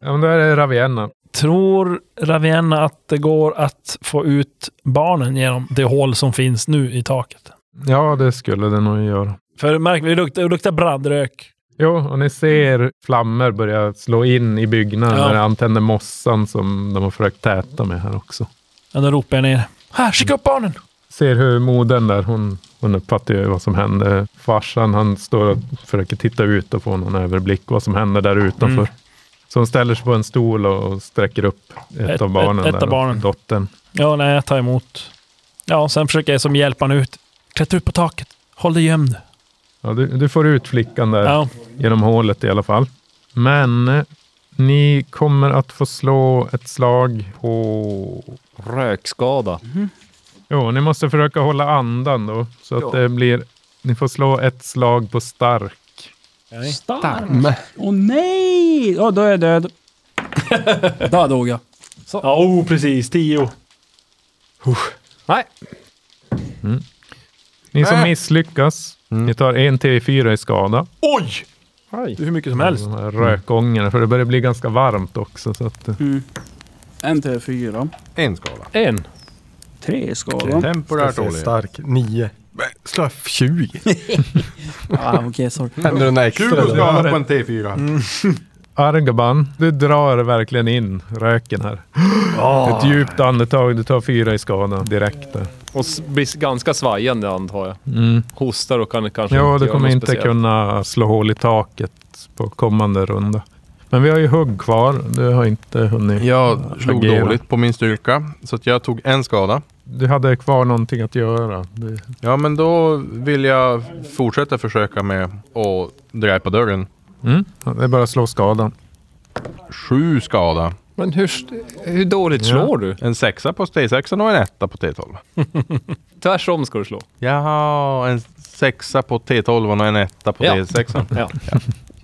C: Ja, men då är det Ravienna.
F: Tror Ravienna att det går att få ut barnen genom det hål som finns nu i taket?
C: Ja, det skulle det nog göra.
F: För märk, det luktar, det luktar brandrök.
C: Jo, och ni ser flammor börja slå in i byggnaden
F: Ja.
C: när de antänder mossan som de har försökt täta med här också.
F: Ja, då ropar jag ner. Här, skicka upp barnen!
C: Ser hur modern där, hon, hon uppfattar ju vad som händer. Farsan, han står och försöker titta ut och få någon överblick vad som händer där utanför.
F: Mm.
C: Så hon ställer sig på en stol och och sträcker upp ett,
F: Ett-
C: av barnen.
F: ett- ett
C: där
F: av barnen.
C: och Dottern.
F: Ja, nej, jag tar emot. Ja, sen försöker jag som hjälpa honom ut. Klättra upp på taket. Håll dig gömd.
C: Ja, du, du får ut flickan där.
F: Ja,
C: genom hålet i alla fall. Men eh, ni kommer att få slå ett slag på...
G: Rökskada.
C: Jo, ni måste försöka hålla andan då. Så att
G: Ja.
C: det blir... Ni får slå ett slag på stark.
H: Stark. Åh nej! Ja, då är jag död. Där dog jag.
F: ja oh, precis. Tio.
G: Nej,
C: Ni som misslyckas,
G: Mm.
C: ni tar en T4 i skada.
F: Oj! Det är hur mycket som helst.
C: De här
G: Mm.
C: rökångarna, för det börjar bli ganska varmt också. Så att, eh,
H: En till fyra.
B: En skala.
G: en.
H: Tre skador.
B: Temporärt
D: Så
B: dålig.
D: stark. 9. Slå F 20.
H: Ah, Okej, sorry.
D: Händer det något extra
B: 20
D: då?
B: skala på en T4.
C: Mm. Argaban, du drar verkligen in röken här.
G: Ah.
C: Ett djupt andetag, du tar fyra i skada direkt där.
G: Och s- blir ganska svajande antar jag.
C: Mm.
G: Hostar och kan kanske
C: Ja,
G: inte
C: du
G: göra
C: kommer
G: något
C: inte
G: speciellt.
C: kunna slå hål i taket på kommande runda. Men vi har ju hugg kvar. Du har inte hunnit.
B: Jag slog
C: Agera.
B: dåligt på min styrka, så att jag tog en skada.
C: Du hade kvar någonting att göra. Du,
B: Ja, men då vill jag fortsätta försöka med att dräpa dörren.
C: mm? Det är bara att slå skadan.
B: Sju skada.
G: Men hur, hur dåligt slår du?
B: En sexa på T6 och en etta på T12.
G: Tvärsom ska du slå.
B: Jaha, en sexa på T12 och en etta på
G: Ja.
B: T6.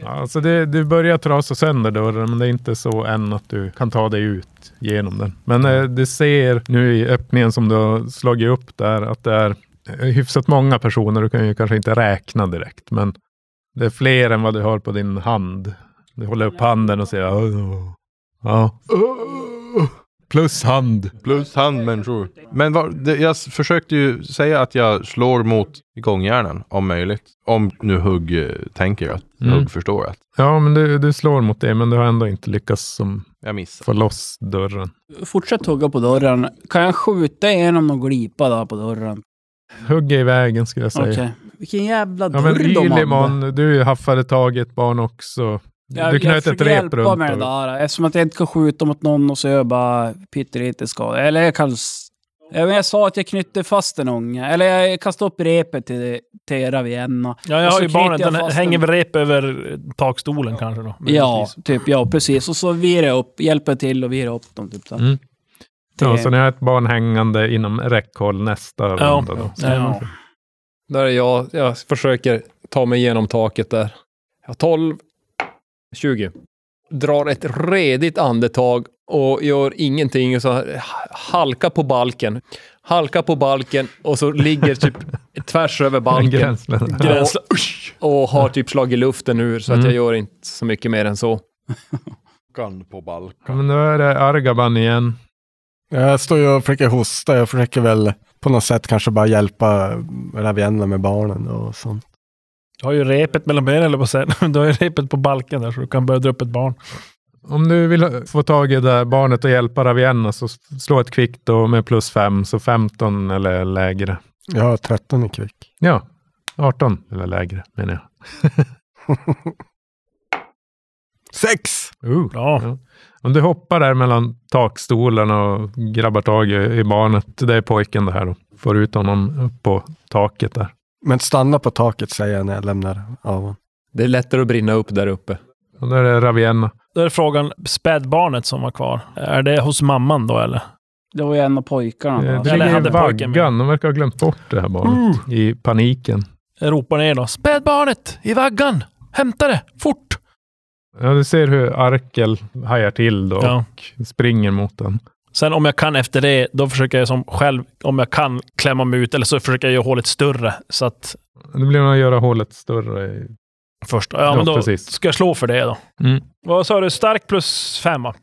G: Ja.
C: Alltså det, du börjar trasa sönder dörren, men det är inte så än att du kan ta dig ut genom den. Men eh, du ser nu i öppningen som du har slagit upp där att det är eh, hyfsat många personer. Du kan ju kanske inte räkna direkt, men det är fler än vad du har på din hand. Du håller upp handen och säger "Åh, ja. Plus hand.
B: Plus handmänniskor. Men vad- det, jag s- försökte ju säga att jag slår mot gångjärnen om möjligt. Om nu Hugg eh, tänker att
C: Mm.
B: Hugg förstår att
C: Ja, men du, du slår mot det, men du har ändå inte lyckats som
B: jag missar.
C: få loss dörren.
H: Fortsätt tugga på dörren. Kan jag skjuta igenom någon glipa där på dörren?
C: Hugg är i vägen skulle jag säga.
H: Okej. Vilken jävla
C: Ja,
H: dörr
C: men
H: de hade.
C: Ylimon, du haffade tag i ett barn också.
H: Jag,
C: du knöt
H: jag
C: ett
H: försöker
C: rep
H: hjälpa
C: runt
H: med det
C: det.
H: där. Eftersom att jag inte kan skjuta mot någon och så är jag bara pyttelite skadad. Eller jag kan... s- Ja, men Jag sa att jag knytte fast en unge. Eller jag kastade upp repet till, till Ravienna.
F: Ja, jag
H: Och
F: har
H: så
F: ju barnet.
H: knyter jag
F: Den
H: fast
F: hänger
H: den.
F: väl rep över eh, takstolen kanske då.
H: Ja, typ. Ja, precis. Och så virar jag upp. Hjälper till och virar upp dem. Typ, så.
C: Mm.
H: Det-
C: Ja, så ni har ett barn hängande inom räckhåll nästa
F: Ja.
C: runda. Då.
H: Mm.
F: Ja.
G: Där är jag. Jag försöker ta mig igenom taket där. Jag har 12, 20. Drar ett redigt andetag och gör ingenting. Och så här, halkar på balken. Halkar på balken och så ligger typ tvärs över balken.
C: Gränslen.
F: Gränsle.
G: Och har typ slagit luften ur så att
C: Mm.
G: jag gör inte så mycket mer än så.
B: på
C: Ja,
B: Balkan.
C: men då är det Argaban igen.
D: Jag står ju och försöker hosta. Jag försöker väl på något sätt kanske bara hjälpa Ravienna med barnen och sånt.
F: Du har ju repet mellan benen, eller vad säger jag? Du har ju repet på balken där så du kan börja dra upp ett barn.
C: Om du vill ha- få tag i det där barnet och hjälpa Ravienna så s- slå ett kvickt då med plus fem, så 15 eller lägre.
D: Jag har 13 i kvick.
C: Ja, 18 eller lägre menar jag.
D: Sex!
C: Uh.
F: Bra.
C: Ja. Om du hoppar där mellan takstolarna och grabbar tag i, i barnet. Det är pojken det här då. Får ut honom upp på taket där.
D: Men stanna på taket säger jag när jag lämnar av honom.
G: Det är lättare att brinna upp där uppe.
C: Och där är Ravienna.
F: Då är frågan, spädbarnet som var kvar, är det hos mamman då eller?
H: Det var ju en av pojkarna.
C: Eh,
H: va?
C: Det
F: Eller
C: ligger i
F: hade pojken med. Uh.
C: vaggan. De verkar ha glömt bort det här barnet i paniken.
F: Jag ropar ner då. Spädbarnet! I vaggan! Hämta det! Fort!
C: Ja, du ser hur Arkel hajar till då
F: Ja.
C: och springer mot den.
F: Sen om jag kan efter det, då försöker jag som själv, om jag kan, klämma mig ut. Eller så försöker jag göra hålet större. Så att
C: Det blir nog att göra hålet större.
F: först, ja,
C: Ja,
F: men då
C: precis.
F: ska jag slå för det då.
C: Mm.
F: Vad sa du? Stark plus fem va?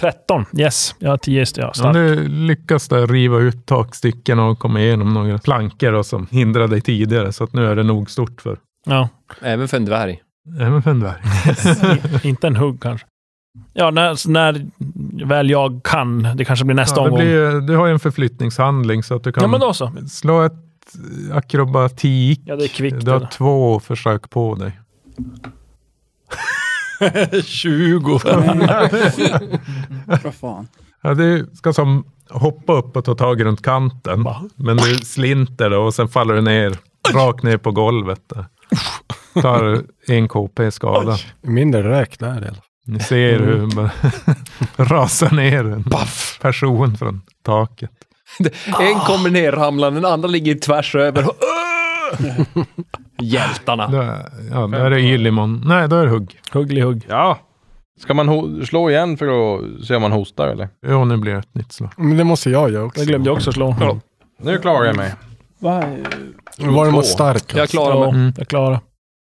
F: 13. Yes. Jag har 10 just det, ja.
C: Om
F: Stark.
C: du lyckas där riva ut takstycken och komma igenom några plankor då, som hindrade dig tidigare, så att nu är det nog stort för
F: Ja.
G: Även för en dvärg.
C: även för en dvärg.
F: Inte en hugg kanske. Ja, när, när väl jag kan. Det kanske blir nästa
C: Ja, det
F: omgång.
C: blir, ju- du har ju en förflyttningshandling så att du kan
F: Ja, men då så.
C: slå ett akrobatik.
F: Ja, det är kvickt,
C: du har
F: eller?
C: två försök på dig.
F: 20.
H: Vad fan.
C: Ja, du ska som hoppa upp och ta tag runt kanten. Men du slinter då och sen faller du ner, rakt ner på golvet. Där. Tar en KP skada.
D: Mindre rök där i alla fall.
C: Ni ser hur
F: Mm.
C: hon bara rasar ner en person från taket.
G: En kommer ner ramlande, den andra ligger tvärs över. Hjältarna.
C: Då, är- ja, då är det Ylimon. Nej, då är det hugg.
F: Hugglig hugg.
B: Ja. Ska man ho- slå igen för att se om man hostar eller?
C: Jo, nu blir det ett nytt slag.
D: Men det måste jag göra också.
F: Det glömde jag också slå.
B: Nu klarar jag mig.
H: Va?
D: Var det mot
B: Två.
D: stark?
G: Jag klarar
F: Ja,
G: mig.
F: jag klarar.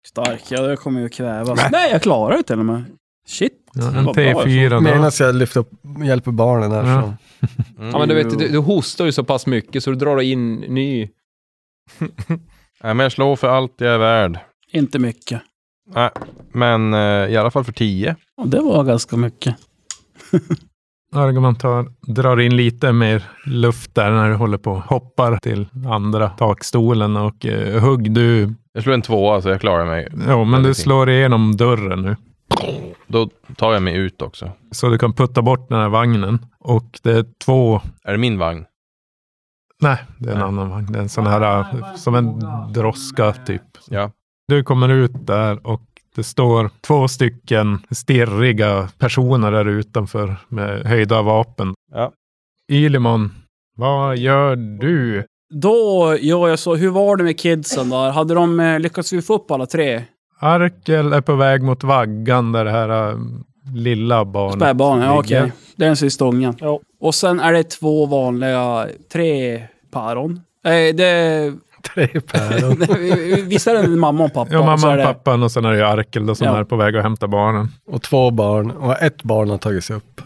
H: Stark, ja det kommer ju kvävas. Nej, jag klarar det till och med. Shit.
C: Ja, en
H: Vad bra jag
C: T4 då.
D: Medan jag lyfter upp, hjälper barnen där
C: Ja.
D: så.
G: Ja,
B: Mm.
G: men du, vet, du, du hostar ju så pass mycket så du drar in ny...
B: Nej, men jag slår för allt jag är värd.
H: Inte mycket.
B: Men eh, i alla fall för 10.
H: Ja, det var ganska mycket.
C: Argoman tar, drar in lite mer luft där när du håller på och hoppar till andra takstolen och eh, hugg du.
B: Jag slår en tvåa så jag klarar mig.
C: Ja, men du
B: Väldigt fint.
C: slår igenom dörren nu
B: Då tar jag mig ut också.
C: så du kan putta bort den här vagnen och det är två.
B: Är det min vagn?
C: Nej, det är en
B: Nej.
C: annan vagn. Det är en sån här eh, som en droska typ.
B: Ja.
C: Du kommer ut där och det står två stycken stirriga personer där utanför med höjda vapen.
B: Ja.
C: Ylimon, vad gör du?
H: Då gör jag så, hur var det med kidsen där? Hade de eh, lyckats vi få upp alla tre?
C: Arkel är på väg mot vaggan där det här äh, lilla barnet
H: Spädbarnen, ja okej.
C: ligger.
H: Det är den sista ungen.
F: Ja.
H: Och sen är det två vanliga, tre päron. Nej, det...
D: Tre päron.
H: nej, vi- vi- Visst är det en mamma och pappa?
C: Ja,
H: och så
C: mamman
H: är det-
C: och pappan och sen är det ju Arkel då, som
H: Ja.
C: är på väg att hämta barnen.
D: Och två barn. Och ett barn har tagit sig upp.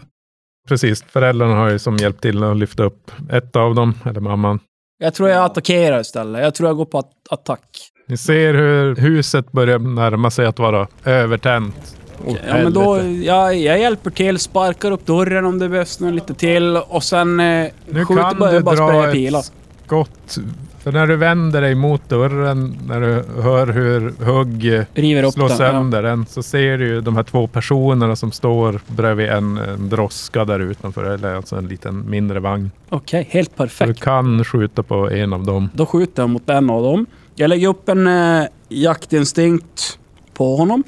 C: Precis, föräldrarna har ju som hjälpt till att lyfta upp ett av dem, eller mamman.
H: Jag tror jag attackerar istället. Jag tror jag går på att- attack.
C: Ni ser hur huset börjar närma sig att vara övertänt.
H: Ja, men då,
C: helvete.
H: jag, jag hjälper till, sparkar upp dörren om det behövs någon lite till och sen eh,
C: Nu
H: skjuter
C: kan
H: bara,
C: du
H: jag bara
C: dra
H: spraya
C: ett
H: pilar.
C: skott. För när du vänder dig mot dörren, när du hör hur hugg eh,
H: River upp
C: slår
H: den. Ja.
C: sönder den så ser du ju de här två personerna som står bredvid en, en droska där utanför, eller alltså en liten mindre vagn.
H: Okej, helt
C: Så du
H: perfekt.
C: kan skjuta på en av dem.
H: Då skjuter jag mot en av dem. Jag lägger upp en eh, jaktinstinkt på honom.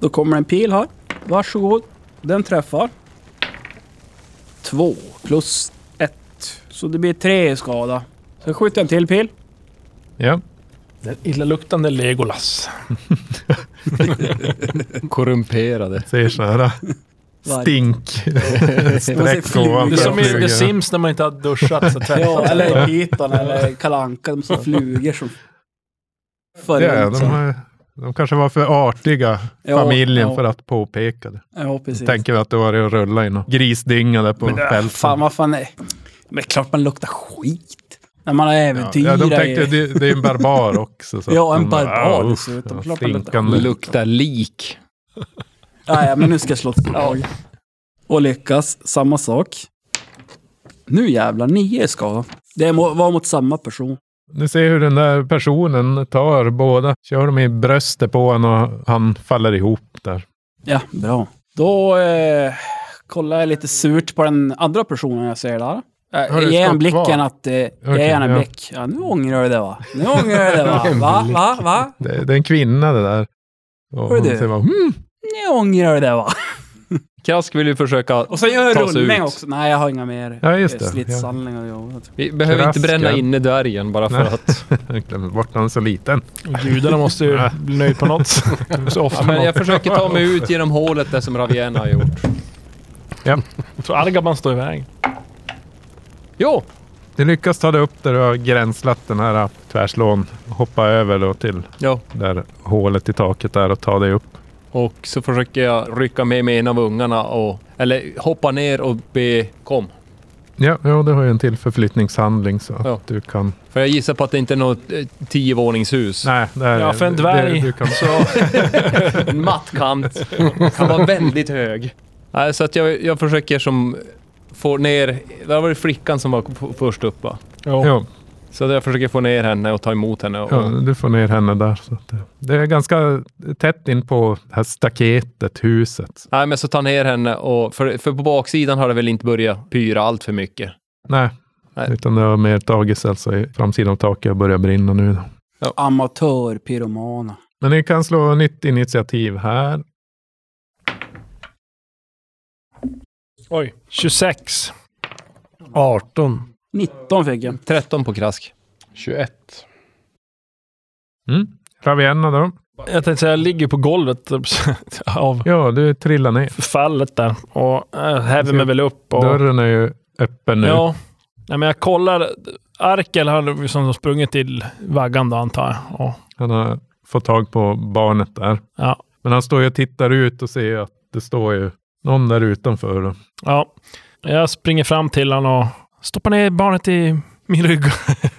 H: Då kommer en pil här. Varsågod. Den träffar. Två plus ett. Så det blir tre i skada. Sen skjuter jag en till pil.
C: Ja,
F: Den illaluktande Legolas.
G: Korrumperade.
C: ser sån här
H: Varg.
C: stink. Streck ovanför.
F: Det är som i The
C: flugan.
F: Sims när man inte har duschat så tvättat.
H: Ja, eller Pitan eller Kalanka. De som flugor som... följer
C: Ja,
H: runt
C: de,
H: sen.
C: har- de kanske var för artiga,
H: Ja,
C: familjen,
H: ja.
C: för att påpeka det.
H: Ja, precis.
C: Tänker vi att det var det att rulla i någon grisdynga där på
H: Men det-
C: fälten.
H: Fan, vad fan är... Men klart man luktar skit. När man har
C: Ja,
H: äventyr.
C: ja, de tänkte
H: i-
C: det, det är en barbar också. Så
H: Ja,
C: att
H: en
C: de- "Ah,
H: barbar
C: Au,
H: dessutom.
C: ja,
H: Klart man luktar
C: stinkande.
G: Luktar lik.
H: Ja, ja, men nu ska jag slå ett slag. Och lyckas, samma sak. Nu jävlar, nio i skada. Det må- var mot samma person.
C: Ni ser hur den där personen tar båda, kör dem i bröstet på honom och han faller ihop där.
H: Ja, bra. Då eh, Kollar jag lite surt på den andra personen jag ser där.
C: Har
H: Jag
C: du
H: ger en
C: skott
H: blicken
C: kvar?
H: att... Eh, jag
C: Okej,
H: ger en
C: ja.
H: blick. Ja, nu ångrar du det va? Nu ångrar du det va?
D: En
H: Va?
D: blick.
H: Va? Va?
C: Det, det är en kvinna det där. Och
H: Hör
C: hon
H: du?
C: säger bara, hmm,
H: Nu ångrar du det va?
G: Krask vill ju försöka...
H: Och sen gör jag
G: Ta
H: en
G: sig
H: rullning
G: ut.
H: också. Nej, jag har inga mer
C: Ja,
H: eh,
C: just det. Jag
H: stridshandlingar att göra.
G: Vi behöver
C: Krask,
G: inte bränna
C: ja.
G: inne dvärgen bara för
C: Nej.
G: att...
C: glömde bort den så liten.
F: Och Gudarna måste ju bli nöjd på något. Så ofta
G: Ja, men jag försöker ta mig ut genom hålet där som Ravienna har gjort.
F: Så Argaban står i vägen.
G: Jo!
C: Du lyckas ta dig upp där du har gränslat den här ah, tvärslån. Hoppa över då till
G: Ja.
C: där hålet i taket där och ta dig upp.
G: Och så försöker jag rycka med mig en av ungarna och... Eller hoppa ner och be kom.
C: Ja, ja du har ju en till förflyttningshandling så att
G: Ja.
C: du kan...
G: För jag gissar på att det inte är något eh, tiovåningshus.
C: Nej, det här
F: Ja,
C: är-
F: för en
C: det-
F: dvärg.
C: du kan,
G: En mattkant. Kan vara väldigt hög. Nej, så att jag, jag försöker som... Få ner... Det var det flickan som var f- först upp va?
C: ja,
G: Så att jag försöker få ner henne och ta emot henne. Och,
C: ja, du får ner henne där. Så att det, det är ganska tätt in på det här staketet, huset.
G: Nej, men så ta ner henne och... För, för på baksidan har det väl inte börjat pyra allt för mycket.
C: Nej,
G: Nej.
C: utan det har mer tagits alltså i framsidan av taket och börjar brinna nu. Då.
H: Amatörpyromaner.
C: Men ni kan slå nytt initiativ här.
F: Oj. 26.
D: 18.
H: 19 fick jag.
G: 13 på krask.
B: 21.
C: Mm. Ravienna då?
F: Jag tänkte säga, jag ligger på golvet typ, av
C: Ja, du trillar ner.
F: fallet där och eh, häver mig väl upp. Och,
C: Dörren är ju öppen nu.
F: Ja. Nej, men jag kollar. Arkel har liksom sprungit till vaggan då antar jag. Och,
C: Han har fått tag på barnet där.
F: ja.
C: Men han står ju och tittar ut och ser att det står ju någon där utanför. Då.
F: ja. Jag springer fram till honom och stoppar ner barnet i min rygg.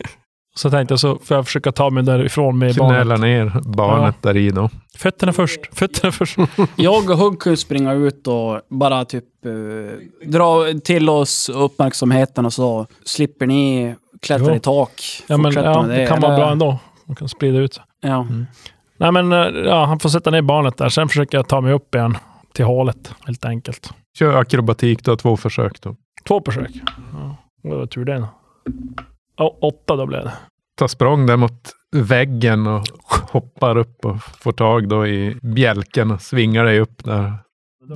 F: så tänkte jag så får jag försöka ta mig därifrån med
C: Knälar
F: barnet.
C: ner barnet där i då.
F: Fötterna först. Fötterna först.
H: Jag och Hugg kunde springa ut och bara typ eh, dra till oss uppmärksamheten och så slipper ni klättra
F: Jo.
H: i tak.
F: Ja, men,
H: Fortsätt
F: ja,
H: med
F: det kan vara
H: eller?
F: bra ändå. Man kan sprida ut sig.
H: Ja.
F: Nej, men eh, ja, han får sätta ner barnet där. Sen försöker jag ta mig upp igen till hålet, helt enkelt.
C: Kör akrobatik, du har två försök då.
F: Två försök. Ja. Det var tur det. Ja, åtta då blev det.
C: Ta språng där mot väggen och hoppar upp och får tag då i bjälken och svingar dig upp där.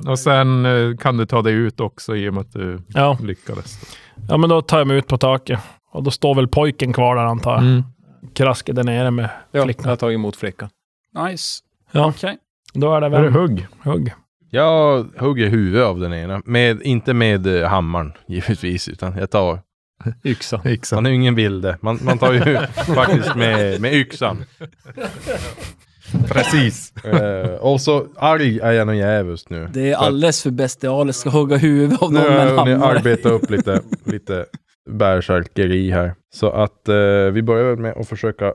C: Och sen eh, kan du ta dig ut också i och med att du
F: Ja.
C: lyckades.
F: ja, men då tar jag mig ut på taket. Och då står väl pojken kvar där antar jag.
C: Mm.
F: Krasket där nere med
G: Ja, jag
F: flickan.
G: har tagit emot flickan.
H: Nice.
F: Ja.
H: Okej.
F: Då är det
C: Är det
F: väl
C: hugg?
F: hugg.
B: Jag hugger huvudet av den ena. Med, inte med eh, hammaren givetvis, utan jag tar...
G: Yxa.
C: Yxan.
B: Man är ju ingen vilde. Man, man tar ju faktiskt med, med yxan.
C: Precis.
B: Eh, och så arg är jag nog jävligt nu.
H: Det är
B: För att-
H: alldeles för bestialiskt att hugga huvudet av
B: Nu
H: någon
B: har
H: med
B: jag
H: en
B: hunnit
H: hammare.
B: arbeta upp lite, lite bärsärkeri här. Så att eh, vi börjar väl med att försöka.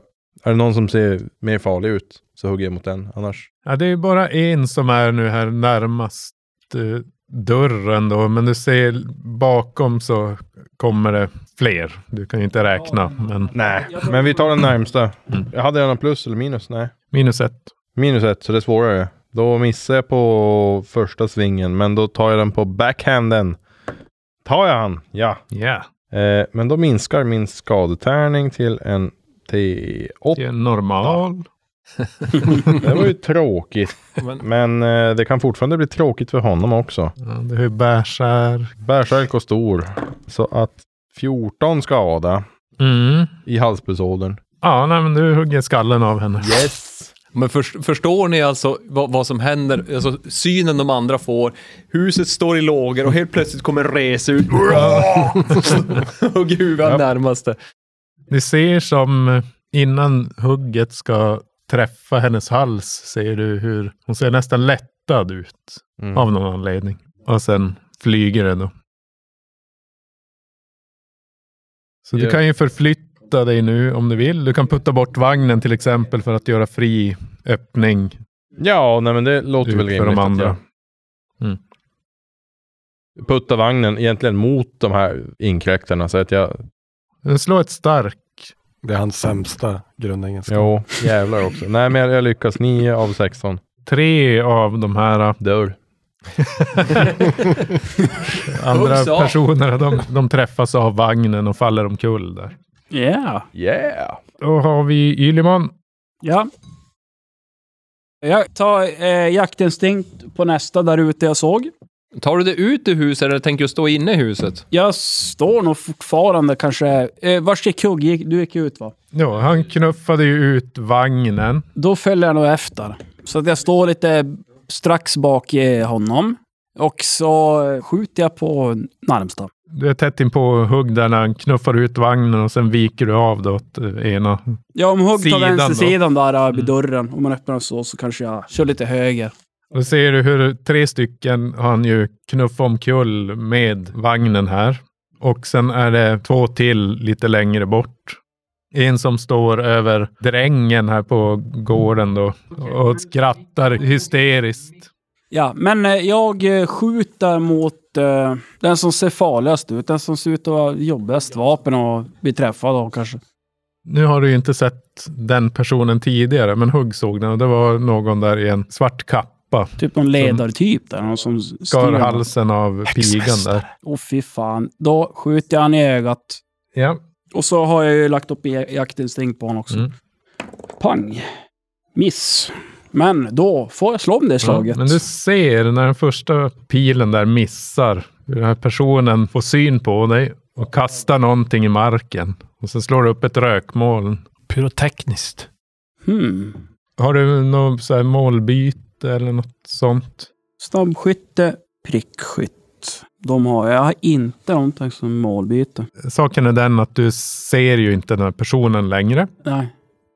B: Är det någon som ser mer farlig ut så hugger jag mot den. Annars.
C: Ja, det är bara en som är nu här närmast eh, dörren då, men du ser bakom så kommer det fler. Du kan ju inte räkna, men
B: Nej, men vi tar den närmsta. Jag hade gärna plus eller minus. Nej,
C: minus ett.
B: minus ett så det är svårare. Då missar jag på första svingen, men då tar jag den på backhanden. Tar jag han? Ja.
C: Ja,
B: Eh, men då minskar min skadetärning till en T8.
C: det är normal.
B: Det var ju tråkigt.
F: Men-
B: Men eh, det kan fortfarande bli tråkigt för honom också.
C: Ja, det är ju bärsär.
B: Bärsärk och stor. Så att 14 skada
C: Mm.
B: i halspulsådern.
C: Ja, nej, men du hugger skallen av henne.
G: Yes. Men för, förstår ni alltså vad, vad som händer? Alltså synen de andra får. Huset står i lågor och helt plötsligt kommer en res ut. Hugger huvudet närmaste.
C: Ni ser som eh, innan hugget ska träffa hennes hals ser du hur hon ser nästan lättad ut
B: Mm.
C: av någon anledning. Och sen flyger den då. Så
B: Ja.
C: du kan ju förflytta dig nu om du vill. Du kan putta bort vagnen till exempel för att göra fri öppning
B: Ja, nej men det låter
C: ut
B: väl
C: för
B: rimligt.
C: de
B: att
C: andra. Mm.
B: jag Puttar vagnen egentligen mot de här inkräktarna så att jag...
C: Slå ett stark.
D: Det är hans sämsta grundegenskap.
B: Jo, jävlar också. Nej men jag, jag lyckas. 9 av 16.
C: Tre av de här eh,
B: Dör.
C: Andra
H: Huggs av.
C: personer, de, de träffas av vagnen och faller omkull där.
H: Yeah.
B: Yeah!
C: Då har vi Ylimon.
H: Ja. Jag tar eh, jaktinstinkt på nästa där ute jag såg.
G: Tar du det ut ur huset eller tänker du stå inne i huset?
H: Jag står nog fortfarande kanske... Eh, vars gick Hugg? Gick- Du gick ut va?
C: Ja, han knuffade ju ut vagnen.
H: Då följer jag nog efter. Så att jag står lite strax bak i honom. Och så skjuter jag på närmsta.
C: Du är tätt in på hugg där när han knuffar ut vagnen och sen viker du av då åt eh, ena.
H: Ja, om Hugg tar
C: Sidan då? Mm.
H: vänstersidan där vid dörren, om man öppnar den så, så kanske jag kör lite höger.
C: Då ser du hur tre stycken har han ju knuffat omkull med vagnen här. Och sen är det två till lite längre bort. En som står över drängen här på gården då och skrattar hysteriskt.
H: Ja, men eh, jag eh, skjuter mot eh, den som ser farligast ut, den som ser ut att ha jobbigast vapen och bli träffad av kanske.
C: Nu har du ju inte sett den personen tidigare, men Hugg såg den och det var någon där i en svart kappa.
H: Typ någon ledartyp där, någon som
C: Skar
H: styr.
C: halsen av pigan där.
H: Åh fy fan. Då skjuter jag han i ögat.
C: Ja,
H: Och så har jag ju lagt upp i- jaktinstinkt på honom också.
C: Mm.
H: Pang! Miss. Men då får jag slå om det slaget.
C: Ja, men du ser när den första pilen där missar hur den här personen får syn på dig och kastar någonting i marken. Och sen slår du upp ett rökmoln.
F: Pyrotekniskt.
H: hmm.
C: Har du något så här målbyte eller något sånt?
H: Snabbskytte, prickskytt. De har jag. Jag har inte någonting som målbyte.
C: Saken är den att du ser ju inte den här personen längre.
H: Nej.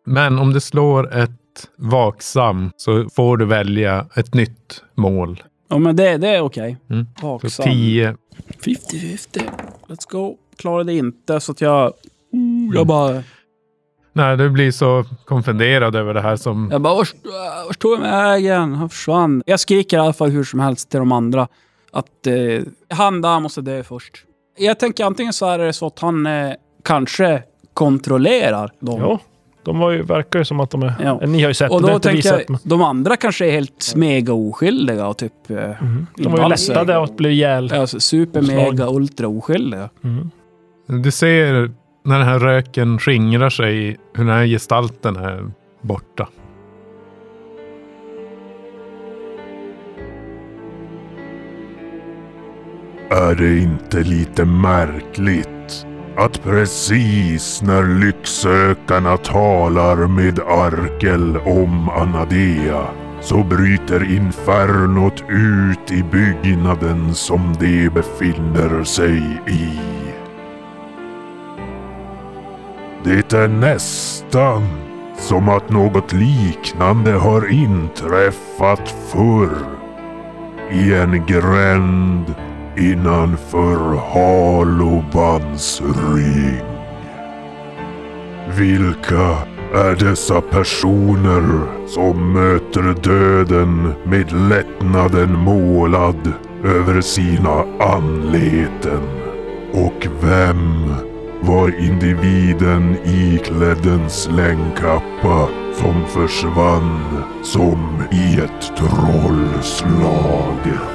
C: Men om du slår ett vaksam så får du välja ett nytt mål.
H: Ja, men det, det är okej.
C: Mm. Så
H: Vaksam.
C: 10.
H: 50-50. Let's go. Klarade det inte så att jag...
C: Mm.
H: Oh, jag bara...
C: Nej, du blir så konfunderad över det här som...
H: Jag bara, vart äh, vart tog jag vägen? Han försvann. Jag skriker i alla fall hur som helst till de andra att eh, han där måste dö först. Jag tänker antingen så är det så att han eh, kanske kontrollerar dem.
I: Ja, de var ju, verkar ju som att de är...
H: Ja.
I: Ni har ju sett
H: Och
I: det,
H: då
I: har inte vi
H: tänker
I: sett.
H: jag,
I: men-
H: de andra kanske är helt smega oskyldiga och typ... Eh,
I: De var ju lättade att bli ihjäl.
H: Alltså, super, mega, ultra oskyldiga.
C: Du ser när den här röken skingrar sig hur den här gestalten är borta.
A: Är det inte lite märkligt att precis när lycksökarna talar med Arkel om Anadea så bryter infernot ut i byggnaden som de befinner sig i. Det är nästan som att något liknande har inträffat förr i en gränd innanför Halobans ring. Vilka är dessa personer som möter döden med lättnaden målad över sina anleten? Och vem var individen iklädd en slängkappa som försvann som i ett trollslag?